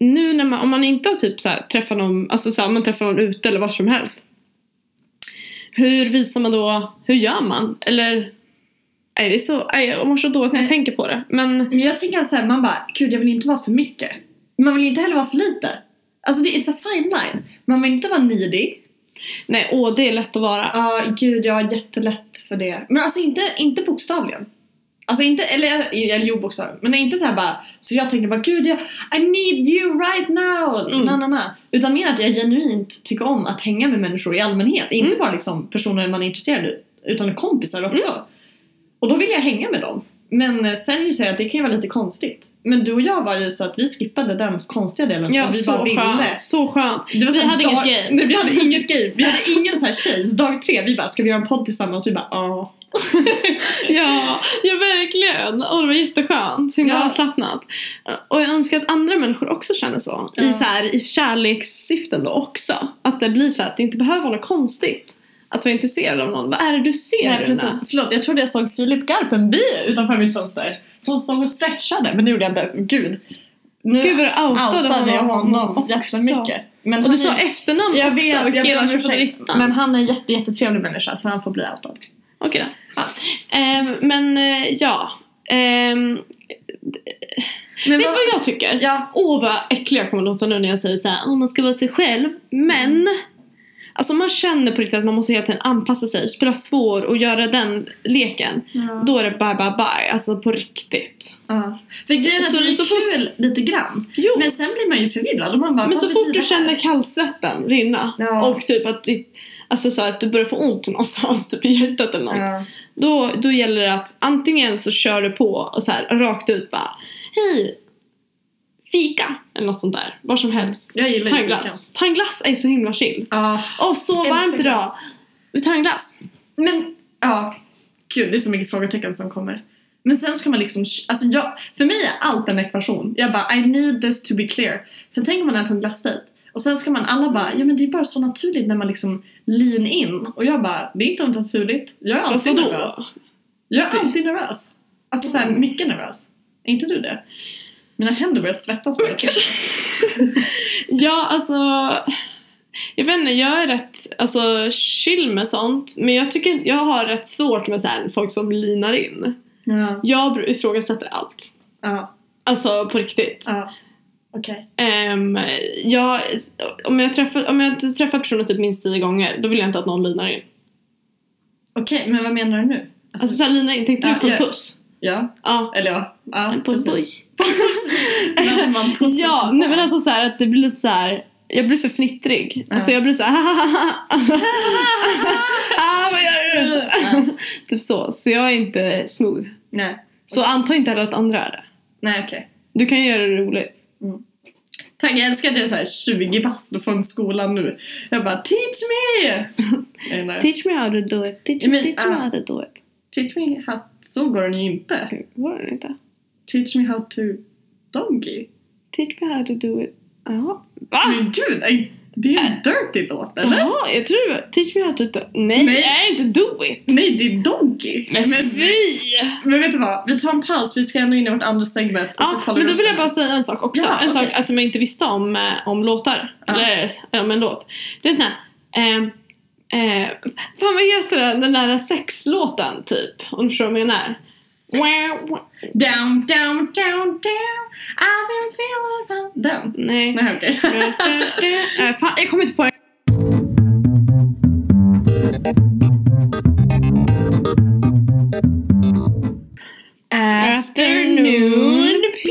Speaker 2: nu när man, om man inte har typ så här, träffat någon, alltså så här, om man träffar någon ute eller var som helst. Hur visar man då, hur gör man? Eller, nej det är så, nej, jag mår så dåligt när jag
Speaker 1: Nej.
Speaker 2: tänker på det. Men
Speaker 1: Men jag tänker att så här, man bara, gud jag vill inte vara för mycket. Men man vill inte heller vara för lite. Alltså det, it's a fine line. Man vill inte vara needy.
Speaker 2: Nej, åh det är lätt att vara.
Speaker 1: Ja, gud jag har jättelätt för det. Men alltså inte, inte bokstavligen. Alltså inte, eller, eller jo bokstavligen. Men inte så här bara, så jag tänker bara gud jag, I need you right now!
Speaker 2: Mm.
Speaker 1: Na, na, na. Utan mer att jag genuint tycker om att hänga med människor i allmänhet. Inte
Speaker 2: Mm.
Speaker 1: bara liksom personer man är intresserad av, utan kompisar också. Och då vill jag hänga med dem. Men eh, sen vill jag säga att det kan ju vara lite konstigt. Men du och jag var ju så att vi skippade den konstiga delen
Speaker 2: Ja,
Speaker 1: och vi
Speaker 2: så
Speaker 1: bara ville.
Speaker 2: skönt. Så skönt.
Speaker 1: Det var
Speaker 2: Vi
Speaker 1: så här
Speaker 2: hade
Speaker 1: dag-
Speaker 2: inget game.
Speaker 1: Nej, vi hade inget game. Vi hade ingen så här tjejs. Dag tre, vi bara, ska vi göra en podd tillsammans? Vi bara, ja.
Speaker 2: Ja, ja verkligen. Och det var jätteskönt. Så himla
Speaker 1: Ja.
Speaker 2: avslappnat. Och jag önskar att andra människor också känner så.
Speaker 1: Ja.
Speaker 2: I, så här, I kärlekssyften då också. Att det blir så här, att det inte behöver vara något konstigt. Att vara intresserad av någon. Vad är det du
Speaker 1: Nej,
Speaker 2: ser? i den här?
Speaker 1: precis. Förlåt, jag trodde jag såg Filip Garpenby utanför mitt fönster. Som stod och stretchade, men det gjorde jag inte. Gud. Nu
Speaker 2: Gud vad du outade,
Speaker 1: outade jag honom
Speaker 2: också.
Speaker 1: jättemycket. Men
Speaker 2: Och du
Speaker 1: han
Speaker 2: sa
Speaker 1: är-
Speaker 2: efternamn
Speaker 1: jag
Speaker 2: också.
Speaker 1: vet, jag ber
Speaker 2: hela
Speaker 1: om ursäkt.
Speaker 2: tjofaderittan.
Speaker 1: Men han är en jätte, jättetrevlig människa så han får bli outad.
Speaker 2: Okej då. Ehm, men eh, ja. Ehm,
Speaker 1: Men
Speaker 2: vet du vad jag tycker?
Speaker 1: Ja.
Speaker 2: Åh vad äcklig jag kommer låta nu när jag säger så här, "Åh, man ska vara sig själv. Men. Alltså man känner på riktigt att man måste hela tiden anpassa sig, spela svår och göra den leken.
Speaker 1: Ja.
Speaker 2: Då är det bye bye bye, alltså på riktigt.
Speaker 1: Ja. För grejen är att
Speaker 2: så-
Speaker 1: det
Speaker 2: så
Speaker 1: är kul lite grann.
Speaker 2: Jo.
Speaker 1: Men sen blir man ju förvirrad och man bara,
Speaker 2: Men
Speaker 1: vad
Speaker 2: så
Speaker 1: betyder
Speaker 2: fort
Speaker 1: det
Speaker 2: du
Speaker 1: här?
Speaker 2: känner kallsvetten rinna
Speaker 1: Ja.
Speaker 2: och typ att, ditt, alltså så här, att du börjar få ont någonstans, typ i hjärtat eller något.
Speaker 1: Ja.
Speaker 2: Då, då gäller det att antingen så kör du på och så här rakt ut bara Hej! Fika! Eller något sånt där. Vad som helst.
Speaker 1: Jag gillar ju
Speaker 2: Tangglass. Tangglass är så himla chill.
Speaker 1: Ja.
Speaker 2: Åh, så
Speaker 1: Älskar
Speaker 2: varmt idag!
Speaker 1: glass.
Speaker 2: Vi tar en glass.
Speaker 1: Men, ja. Gud, det är så mycket frågetecken som kommer. Men sen ska man liksom, alltså jag, för mig är allt en ekvation. Jag bara, I need this to be clear. Sen tänker man är på en glassdejt. Och sen ska man alla bara, ja men det är bara så naturligt när man liksom lean in. Och jag bara, det är inte naturligt. Jag är
Speaker 2: Fast
Speaker 1: alltid
Speaker 2: vadå?
Speaker 1: nervös. Jag är alltid nervös. Alltså såhär, mycket nervös. Är inte du det? Mina händer börjar svettas på det.
Speaker 2: Ja, alltså... Jag vet inte, jag är rätt alltså, chill med sånt. Men jag tycker inte- jag har rätt svårt med så här, folk som linar in.
Speaker 1: Ja.
Speaker 2: Jag br- ifrågasätter allt.
Speaker 1: Ja.
Speaker 2: Alltså på riktigt.
Speaker 1: Ja. Okej.
Speaker 2: Ehm, jag, om, jag träffar, om jag inte träffar personer typ minst tio gånger, då vill jag inte att någon linar in.
Speaker 1: Okej, men vad menar du nu?
Speaker 2: Alltså såhär linar in, tänkte
Speaker 1: Ja,
Speaker 2: du på en
Speaker 1: ja.
Speaker 2: puss?
Speaker 1: Ja,
Speaker 2: Ja.
Speaker 1: eller ja. ja
Speaker 2: På en
Speaker 1: precis.
Speaker 2: puss.
Speaker 1: När man pussar
Speaker 2: Ja,
Speaker 1: som
Speaker 2: nej
Speaker 1: barn.
Speaker 2: men alltså såhär att det blir lite såhär, jag blir för fnittrig. Alltså
Speaker 1: Ja.
Speaker 2: jag blir såhär ah, vad gör du?
Speaker 1: Ja.
Speaker 2: typ så, så jag är inte smooth.
Speaker 1: Nej,
Speaker 2: Så anta inte heller att andra är det.
Speaker 1: nej okej.
Speaker 2: Du kan ju göra det roligt.
Speaker 1: Tack, jag älskar att det är så här 20 bast från skolan nu. Jag bara teach me! Eh, nej.
Speaker 2: Teach me how to do it, teach,
Speaker 1: Men,
Speaker 2: teach
Speaker 1: ja.
Speaker 2: me how to do it.
Speaker 1: teach me how... Så går den ju inte.
Speaker 2: Var det inte?
Speaker 1: Teach me how to donkey.
Speaker 2: Teach me how to do it. Jaha. Va?
Speaker 1: Men gud, nej, det är en dirty låt eller?
Speaker 2: Jaha, jag tror det var Teach me how to do Nej,
Speaker 1: Nej.
Speaker 2: det är inte do it.
Speaker 1: Nej, det är donkey.
Speaker 2: Men
Speaker 1: men,
Speaker 2: fy!
Speaker 1: men vet du vad? Vi tar en paus, vi ska ändå in i vårt andra segment. och så
Speaker 2: Ja,
Speaker 1: kollar
Speaker 2: men
Speaker 1: vi
Speaker 2: då
Speaker 1: upp
Speaker 2: vill jag
Speaker 1: den.
Speaker 2: bara säga en sak också.
Speaker 1: Ja,
Speaker 2: en
Speaker 1: okej.
Speaker 2: sak alltså, som jag inte visste om, eh, om låtar.
Speaker 1: Ja.
Speaker 2: Eller eh, om en låt. Du vet den här... Eh, eh, fan vad heter den? Den där sexlåten typ. Om du förstår vad jag menar. Wow, wow.
Speaker 1: Down, down, down, down I've been feeling... Den?
Speaker 2: Nej.
Speaker 1: Nej, okej.
Speaker 2: Eh, fan, jag kommer inte på den. Afternoon pee!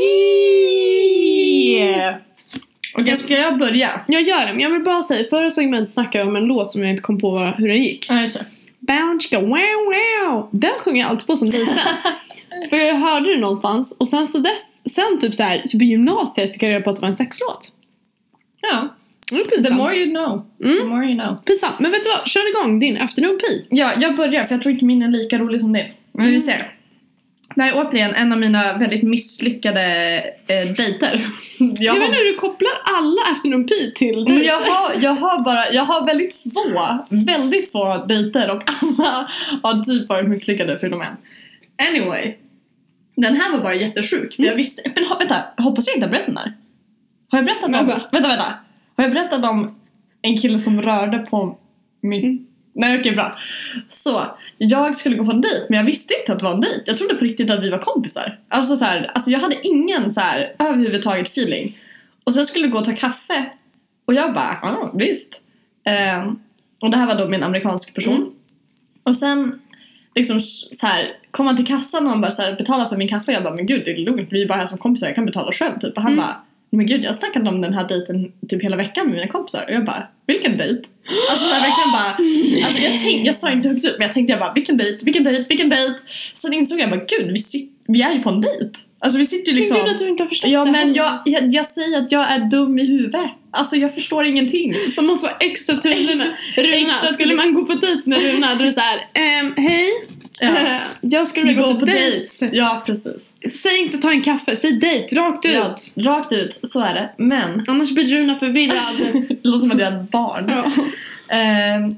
Speaker 1: Okej, ska jag börja?
Speaker 2: Jag gör det, men jag vill bara säga, i förra segmentet snackade jag om en låt som jag inte kom på vad- hur den gick.
Speaker 1: Ja, jag kör.
Speaker 2: Bounce go wow wow! Den sjunger jag alltid på som liten. För jag hörde det någonstans och sen så dess, sen typ så här, så på gymnasiet fick jag reda på att det var en sexlåt.
Speaker 1: Ja. Mm.
Speaker 2: Mm,
Speaker 1: The
Speaker 2: pinsamt. Mm.
Speaker 1: more you know. The more you know.
Speaker 2: Pinsamt. Men vet du vad, kör igång din afternoon pee.
Speaker 1: Ja, jag börjar för jag tror inte min är lika rolig som din. Men vi ser. Det här är återigen en av mina väldigt misslyckade eh, dejter. Jag
Speaker 2: Jag vet
Speaker 1: har,
Speaker 2: inte hur du kopplar alla afternoon pee till
Speaker 1: men
Speaker 2: dig.
Speaker 1: jag, har, jag har bara, jag har väldigt få, väldigt få dejter och alla har typ varit misslyckade förutom en. Anyway. Den här var bara jättesjuk. För jag
Speaker 2: Mm.
Speaker 1: visste, men ho- vänta, hoppas jag inte har berättat den här. Har jag berättat om,
Speaker 2: Vänta.
Speaker 1: vänta, vänta. Har jag berättat om en kille som rörde på min...
Speaker 2: Mm.
Speaker 1: Nej okej bra. Så, jag skulle gå på en dejt men jag visste inte att det var en dejt. Jag trodde på riktigt att vi var kompisar. Alltså så här, alltså jag hade ingen så här överhuvudtaget feeling. Och sen skulle vi gå och ta kaffe och jag bara, ja visst. Ehm, Och det här var då med en amerikansk person.
Speaker 2: Mm.
Speaker 1: Och sen liksom så här, kom han till kassan och han bara så här, betala för min kaffe. Jag bara, men gud det är lugnt, vi är bara här som kompisar, jag kan betala själv typ. Och han
Speaker 2: Mm.
Speaker 1: bara, men gud jag snackade om den här dejten typ hela veckan med mina kompisar. Och jag bara, vilken dejt? Alltså så här, verkligen bara, alltså jag, tänk, jag sa inte högt ut men jag tänkte jag bara, vilken dejt, vilken dejt, vilken dejt? Sen insåg jag bara, gud vi, sit, vi är ju på en dejt. Alltså vi sitter ju liksom...
Speaker 2: Men gud att du inte har förstått
Speaker 1: Ja
Speaker 2: det här.
Speaker 1: men jag, jag, jag säger att jag är dum i huvudet. Alltså jag förstår ingenting.
Speaker 2: Man måste vara extra tydlig med Runa.
Speaker 1: Extra
Speaker 2: skulle
Speaker 1: tydlig.
Speaker 2: man gå på dejt med Runa då är det såhär, ehm, hej. Eh, Jag skulle
Speaker 1: Vi
Speaker 2: vilja
Speaker 1: går
Speaker 2: gå på
Speaker 1: på
Speaker 2: dejt.
Speaker 1: Ja precis.
Speaker 2: Säg inte ta en kaffe, säg dejt rakt ut.
Speaker 1: Ja, rakt ut, så är det. Men.
Speaker 2: Annars blir Runa förvirrad.
Speaker 1: det låter som att jag är ett barn.
Speaker 2: ja.
Speaker 1: Ehm,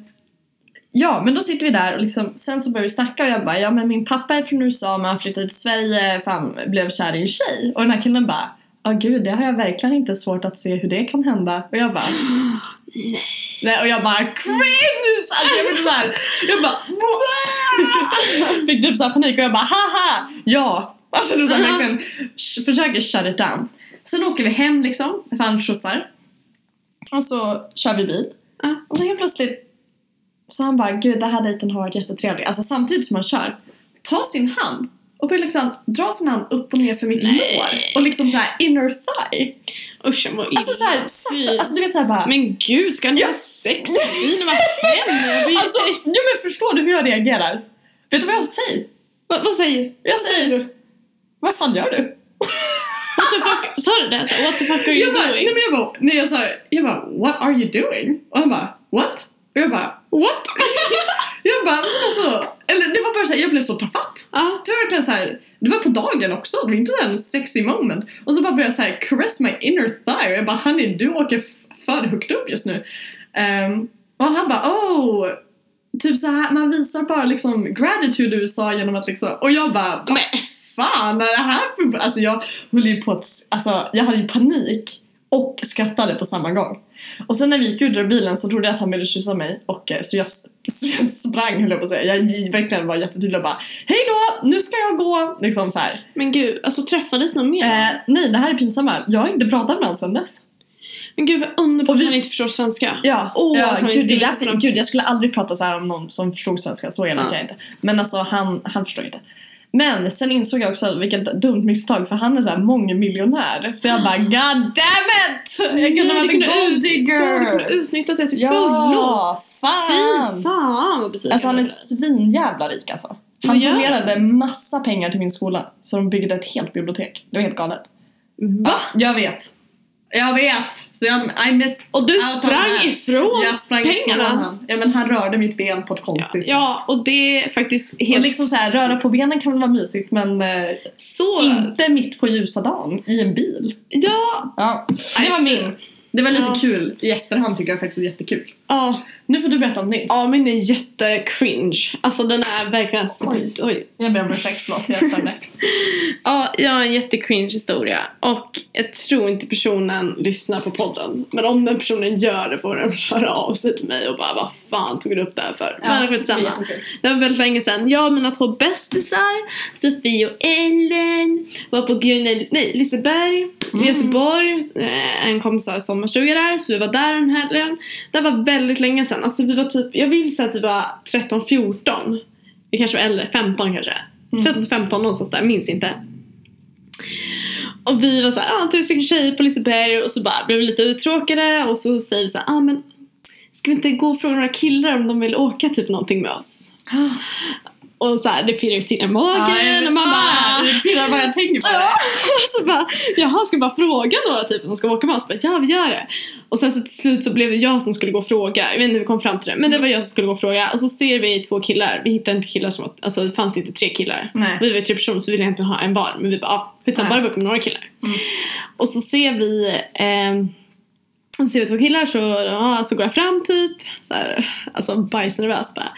Speaker 1: ja men då sitter vi där och liksom, sen så börjar vi snacka och jag bara ja men min pappa är från USA men han flyttade till Sverige för han blev kär i en tjej. Och den här killen bara Ja gud, det har jag verkligen inte svårt att se hur det kan hända. Och jag bara...
Speaker 2: Nej.
Speaker 1: Nej och jag bara cringe! Alltså jag blev såhär... Jag bara... "Wah!" Fick typ såhär panik och jag bara haha! Ja! Alltså du
Speaker 2: Ja.
Speaker 1: såhär verkligen sh- försöker shut it down. Sen åker vi hem liksom, för han skjutsar. Och så kör vi bil.
Speaker 2: Ja.
Speaker 1: Och så helt plötsligt så han bara, gud den här dejten har varit jättetrevlig. Alltså samtidigt som han kör, ta sin hand och börjar liksom dra sin hand upp och ner för mitt
Speaker 2: Nej.
Speaker 1: lår. Och liksom såhär inner thigh.
Speaker 2: Usch jag mår illa.
Speaker 1: Alltså såhär,
Speaker 2: Fy.
Speaker 1: sakta, alltså du vet såhär bara.
Speaker 2: Men gud, ska ni
Speaker 1: Ja.
Speaker 2: ha sex i bilen? Vad händer? Jag blir...
Speaker 1: alltså, ja, men förstår du hur jag reagerar? Vet du vad jag säger?
Speaker 2: vad, vad säger
Speaker 1: Jag säger, vad fan gör du?
Speaker 2: What the fuck? Sa du det? Så, What the fuck are you
Speaker 1: jag bara,
Speaker 2: doing?
Speaker 1: nej men jag bara, nej jag sa, jag bara, what are you doing? Och han bara, what? Och jag bara, what? jag bara, men alltså, eller det var bara såhär, jag blev så tafatt.
Speaker 2: Ja.
Speaker 1: Det var verkligen såhär, det var på dagen också, det var inte såhär en sexy moment. Och så bara började jag såhär, caress my inner thigh. Och jag bara, honey du åker f- för högt upp just nu. Ehm, och han bara, oh! Typ så här, man visar bara liksom gratitude i USA genom att liksom, och jag bara,
Speaker 2: Men,
Speaker 1: fan är det här för... Alltså jag höll ju på att... Alltså jag hade ju panik och skrattade på samma gång. Och sen när vi gick ut ur bilen så trodde jag att han ville kyssa mig och eh, så jag, så jag sprang höll jag på att säga. Jag gick- verkligen var jättetydlig och bara Hej då! Nu ska jag gå! Liksom så här.
Speaker 2: men gud, alltså träffades någon mer?
Speaker 1: Eh, nej det här är pinsamma. Jag har inte pratat med honom sen dess.
Speaker 2: Men gud vad underbart
Speaker 1: och
Speaker 2: att
Speaker 1: vi-
Speaker 2: han inte förstår svenska.
Speaker 1: Ja,
Speaker 2: Åh,
Speaker 1: ja
Speaker 2: att han
Speaker 1: gud,
Speaker 2: inte
Speaker 1: det är
Speaker 2: skulle
Speaker 1: därför,
Speaker 2: kunna-
Speaker 1: gud jag skulle aldrig prata så här om någon som förstod svenska, så elak
Speaker 2: Ja.
Speaker 1: är jag inte. Men alltså han, han förstod inte. Men sen insåg jag också vilket dumt misstag för han är så här mångmiljonär. Så jag bara God damn it! Jag kunde ha
Speaker 2: Nej,
Speaker 1: varit en gold
Speaker 2: Ja, du kunde
Speaker 1: digger!
Speaker 2: utnyttat det till fullo.
Speaker 1: Ja,
Speaker 2: Fy
Speaker 1: fan!
Speaker 2: fan vad besviken
Speaker 1: Alltså han är
Speaker 2: jag blev.
Speaker 1: svinjävla rik alltså.
Speaker 2: Vad
Speaker 1: Han
Speaker 2: gör han?
Speaker 1: donerade massa pengar till min skola så de byggde ett helt bibliotek. Det var helt galet.
Speaker 2: Va?
Speaker 1: Jag vet. Jag vet! Så jag, I missed
Speaker 2: Och du
Speaker 1: Out of
Speaker 2: sprang
Speaker 1: hand.
Speaker 2: ifrån
Speaker 1: jag sprang
Speaker 2: pengarna.
Speaker 1: ifrån honom. Ja men han rörde mitt ben på ett
Speaker 2: Ja,
Speaker 1: konstigt sätt.
Speaker 2: ja, och det är faktiskt helt...
Speaker 1: Och liksom så här, röra på benen kan väl vara mysigt men eh,
Speaker 2: Så...
Speaker 1: inte mitt på ljusa dagen i en bil.
Speaker 2: Ja.
Speaker 1: Ja, det var
Speaker 2: Aj,
Speaker 1: min. Det var lite
Speaker 2: Ja.
Speaker 1: kul. I efterhand tycker jag faktiskt det är jättekul.
Speaker 2: Ja,
Speaker 1: Nu får du berätta om din.
Speaker 2: ja min är jättecringe. Alltså den är verkligen... Oj, oj.
Speaker 1: Jag ber om ursäkt, förlåt jag stämde.
Speaker 2: Ja, jag har en jättecringe historia. Och jag tror inte personen lyssnar på podden. Men om den personen gör det får den höra av sig till mig och bara vad fan tog du upp det här för? men skitsamma. Det var väldigt länge sedan. Jag och mina två bästisar, Sofie och Ellen, var på Gunel, nej, Liseberg i Göteborg. Eh, En kompis har sommarstuga där, så vi var där den helgen. Det var väldigt länge sedan. Alltså vi var typ, jag vill säga att vi var 13, 14. Vi kanske var äldre, 15 kanske. 13, 15 någonstans där, minns inte. Och vi var såhär, ah, tre stycken tjejer på Liseberg och så bara blev vi lite uttråkade och så säger vi såhär, ah men ska vi inte gå och fråga några killar om de vill åka typ någonting med oss? Och så här, det pirrar ju till i magen och man bara...
Speaker 1: Det pirrar bara jag tänker på det.
Speaker 2: Ja, så bara, jaha, ska jag bara fråga några typ om de ska åka med oss? Bara, ja, vi gör det. Och sen så till slut så blev det jag som skulle gå och fråga. Jag vet inte hur vi kom fram till det, men det var jag som skulle gå och fråga. Och så ser vi två killar. Vi hittade inte killar som var, alltså det fanns inte tre killar.
Speaker 1: Nej.
Speaker 2: Vi var tre personer så vi ville egentligen ha en var, men vi bara, ah, skitsamma,
Speaker 1: Nej.
Speaker 2: bara vi åker med några killar. Och så ser vi ehm, och så ser vi två killar så, ja, så går jag fram typ, så här, alltså bajsnervös bara.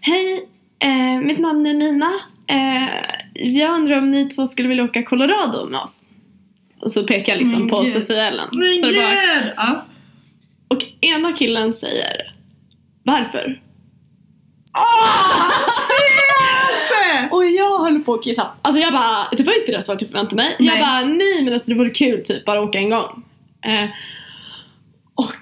Speaker 2: Hej, eh, mitt namn är Mina. Eh, jag undrar om ni två skulle vilja åka Colorado med oss? Och så pekar jag liksom
Speaker 1: Men
Speaker 2: på
Speaker 1: gud.
Speaker 2: Sofia Ellen. Så det bara,
Speaker 1: Ja.
Speaker 2: och ena killen säger varför? Och jag höll på att kissa. Alltså jag bara, det var inte det svaret jag förväntade mig. Jag
Speaker 1: Nej.
Speaker 2: typ bara, nej men alltså det vore kul typ, bara åka en gång. Eh, och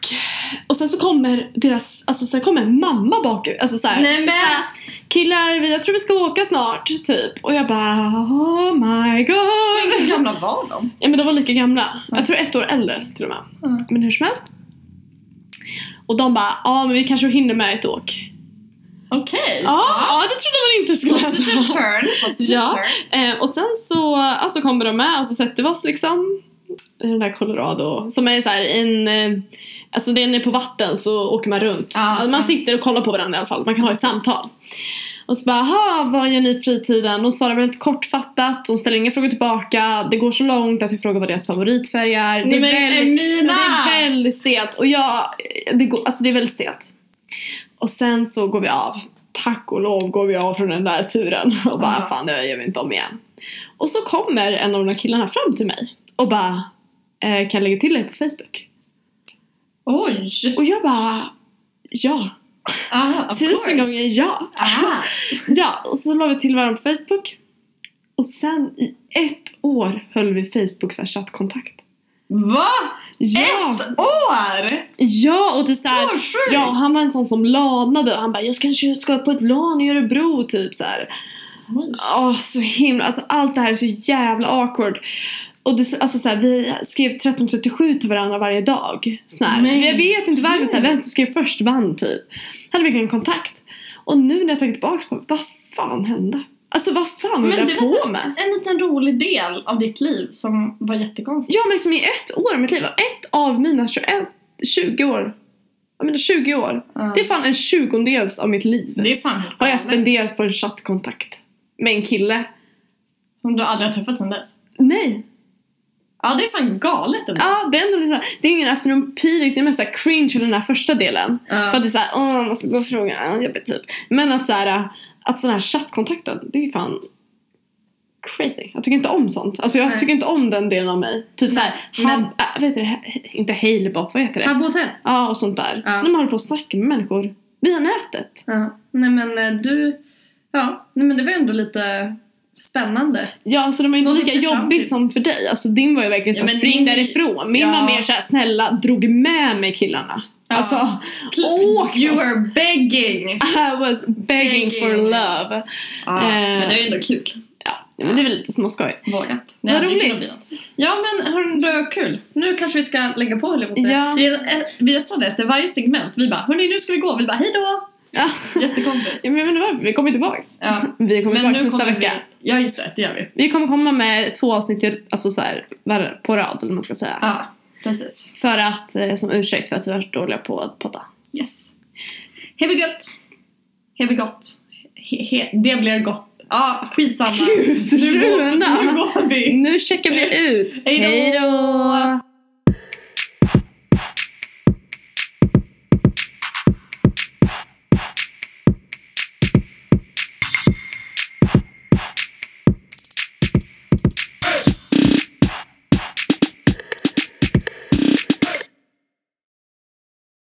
Speaker 2: Och sen så kommer deras, alltså sen kommer mamma bakut. Alltså såhär.
Speaker 1: Nej, men-
Speaker 2: såhär, Killar, vi- jag tror vi ska åka snart. Typ. Och jag bara oh my god.
Speaker 1: Hur gamla var de?
Speaker 2: Ja men de var lika gamla. Jag tror ett år äldre till och med.
Speaker 1: Mm.
Speaker 2: Men hur som helst. Och de bara, ja men vi kanske hinner med ett åk.
Speaker 1: Okej.
Speaker 2: Ja, ja det trodde man inte skulle
Speaker 1: Positive
Speaker 2: hända.
Speaker 1: turn. Positive
Speaker 2: Ja.
Speaker 1: turn.
Speaker 2: Eh, och sen så alltså, kommer de med och så sätter vi oss liksom i den där Colorado som är så här en, eh, alltså den är på vatten så åker man runt.
Speaker 1: Ja,
Speaker 2: alltså, man
Speaker 1: ja.
Speaker 2: sitter och kollar på varandra i alla fall, man kan ha ett samtal. Och så bara, "Aha, vad gör ni på fritiden? De svarar väldigt kortfattat, de ställer inga frågor tillbaka, det går så långt att vi frågar vad deras favoritfärg är.
Speaker 1: Nej,
Speaker 2: det, är
Speaker 1: men eh,
Speaker 2: väldigt,
Speaker 1: Emina!
Speaker 2: det är väldigt stelt och jag, det, går, alltså det är väldigt stelt. Och sen så går vi av. Tack och lov går vi av från den där turen och bara
Speaker 1: Ja.
Speaker 2: fan det gör vi inte om igen. Och så kommer en av de där killarna fram till mig och bara eh, kan jag lägga till dig på Facebook?
Speaker 1: Oj!
Speaker 2: Och jag bara ja,
Speaker 1: Ah, of
Speaker 2: tusen
Speaker 1: course.
Speaker 2: gånger ja.
Speaker 1: Ah.
Speaker 2: Ja, och så la vi till varandra på Facebook. Och sen i ett år höll vi Facebooks här chattkontakt.
Speaker 1: Va?
Speaker 2: Ja,
Speaker 1: Ett år?
Speaker 2: ja och typ såhär
Speaker 1: Så sjukt!
Speaker 2: Ja, han var en sån som lanade. Han bara, jag ska, kanske ska på ett lan i Örebro, typ så här.
Speaker 1: Oj.
Speaker 2: Åh, så himla... Alltså allt det här är så jävla awkward. Och det, alltså så här, vi skrev 1337 till varandra varje dag. Sån här.
Speaker 1: Nej.
Speaker 2: Jag vet inte varför, så här,
Speaker 1: Nej.
Speaker 2: vem som skrev först vann, typ. Hade verkligen kontakt. Och nu när jag tänker tillbaka på det, vad fan hände? Alltså vad fan höll
Speaker 1: Men
Speaker 2: jag
Speaker 1: det
Speaker 2: på
Speaker 1: var så-
Speaker 2: med?
Speaker 1: En liten rolig del av ditt liv som var jättekonstig.
Speaker 2: Ja, men liksom i ett år av mitt liv, ett av mina 21, 20 år. Jag menar 20 år.
Speaker 1: Ja.
Speaker 2: Det är fan en tjugondels av mitt liv.
Speaker 1: Det är fan helt
Speaker 2: har jag
Speaker 1: galet.
Speaker 2: spenderat på en chattkontakt med en kille.
Speaker 1: Som du aldrig har träffat sedan dess.
Speaker 2: Nej.
Speaker 1: Ja, det är fan galet ändå.
Speaker 2: Ja, det är ändå så här, det är ingen afternoon pee riktigt, det är mest så här cringe i den här första delen.
Speaker 1: Ja.
Speaker 2: För att det är såhär, åh man ska gå och fråga, ja, jobbigt typ. Men att såhär, att sån här chattkontakten, det är ju fan crazy. Jag tycker inte om sånt. Alltså jag
Speaker 1: Nej.
Speaker 2: tycker inte om den delen av mig. Typ såhär,
Speaker 1: Nej, men-
Speaker 2: hab, äh, vad heter det, He- inte hailbop, vad heter det?
Speaker 1: Habbo hotell.
Speaker 2: Ja, och sånt där.
Speaker 1: Ja.
Speaker 2: När man håller på och snackar med människor via nätet.
Speaker 1: Ja. Nej men eh, du... Ja, nej men det var ändå lite spännande.
Speaker 2: Ja, så den var ju inte
Speaker 1: Något
Speaker 2: lika
Speaker 1: att se fram
Speaker 2: jobbig
Speaker 1: till.
Speaker 2: som för dig. Alltså din var ju verkligen
Speaker 1: Ja,
Speaker 2: såhär,
Speaker 1: men
Speaker 2: spring
Speaker 1: min-
Speaker 2: därifrån. Min
Speaker 1: Ja.
Speaker 2: var mer såhär, snälla drog med mig killarna.
Speaker 1: Ja.
Speaker 2: Alltså, åk
Speaker 1: You
Speaker 2: oss.
Speaker 1: were begging!
Speaker 2: I was begging,
Speaker 1: Begging.
Speaker 2: for love.
Speaker 1: Ja,
Speaker 2: Eh.
Speaker 1: men det är ju ändå kul.
Speaker 2: Ja, men det är väl lite småskoj.
Speaker 1: Vågat. Nej,
Speaker 2: Vad
Speaker 1: det är kul att bli.
Speaker 2: roligt.
Speaker 1: Ja men hörni, det var kul. Nu kanske vi ska lägga på höll jag på att
Speaker 2: Ja.
Speaker 1: säga. Vi- eh, Vi sa det till varje segment. Vi bara hörni nu ska vi gå. Vi bara hejdå!
Speaker 2: Ja.
Speaker 1: Jättekonstigt.
Speaker 2: ja, men jag menar varför? Vi kommer tillbaks.
Speaker 1: Ja.
Speaker 2: Vi kommer
Speaker 1: Men
Speaker 2: tillbaks
Speaker 1: nu
Speaker 2: nästa
Speaker 1: kommer
Speaker 2: vecka.
Speaker 1: vi... Ja just det, det gör vi.
Speaker 2: Vi kommer komma med två avsnitt i- alltså så här, var, på rad, eller vad man ska säga.
Speaker 1: Ja, precis.
Speaker 2: För att, eh, som ursäkt för att vi har varit dåliga på att podda.
Speaker 1: Yes. Hej vi gött! Hej vi gott! He, he, det blir gott. Ja, skitsamma.
Speaker 2: Gud,
Speaker 1: nu, går,
Speaker 2: Runa.
Speaker 1: nu går vi.
Speaker 2: Nu checkar vi ut.
Speaker 1: Hej då.
Speaker 2: Hej då.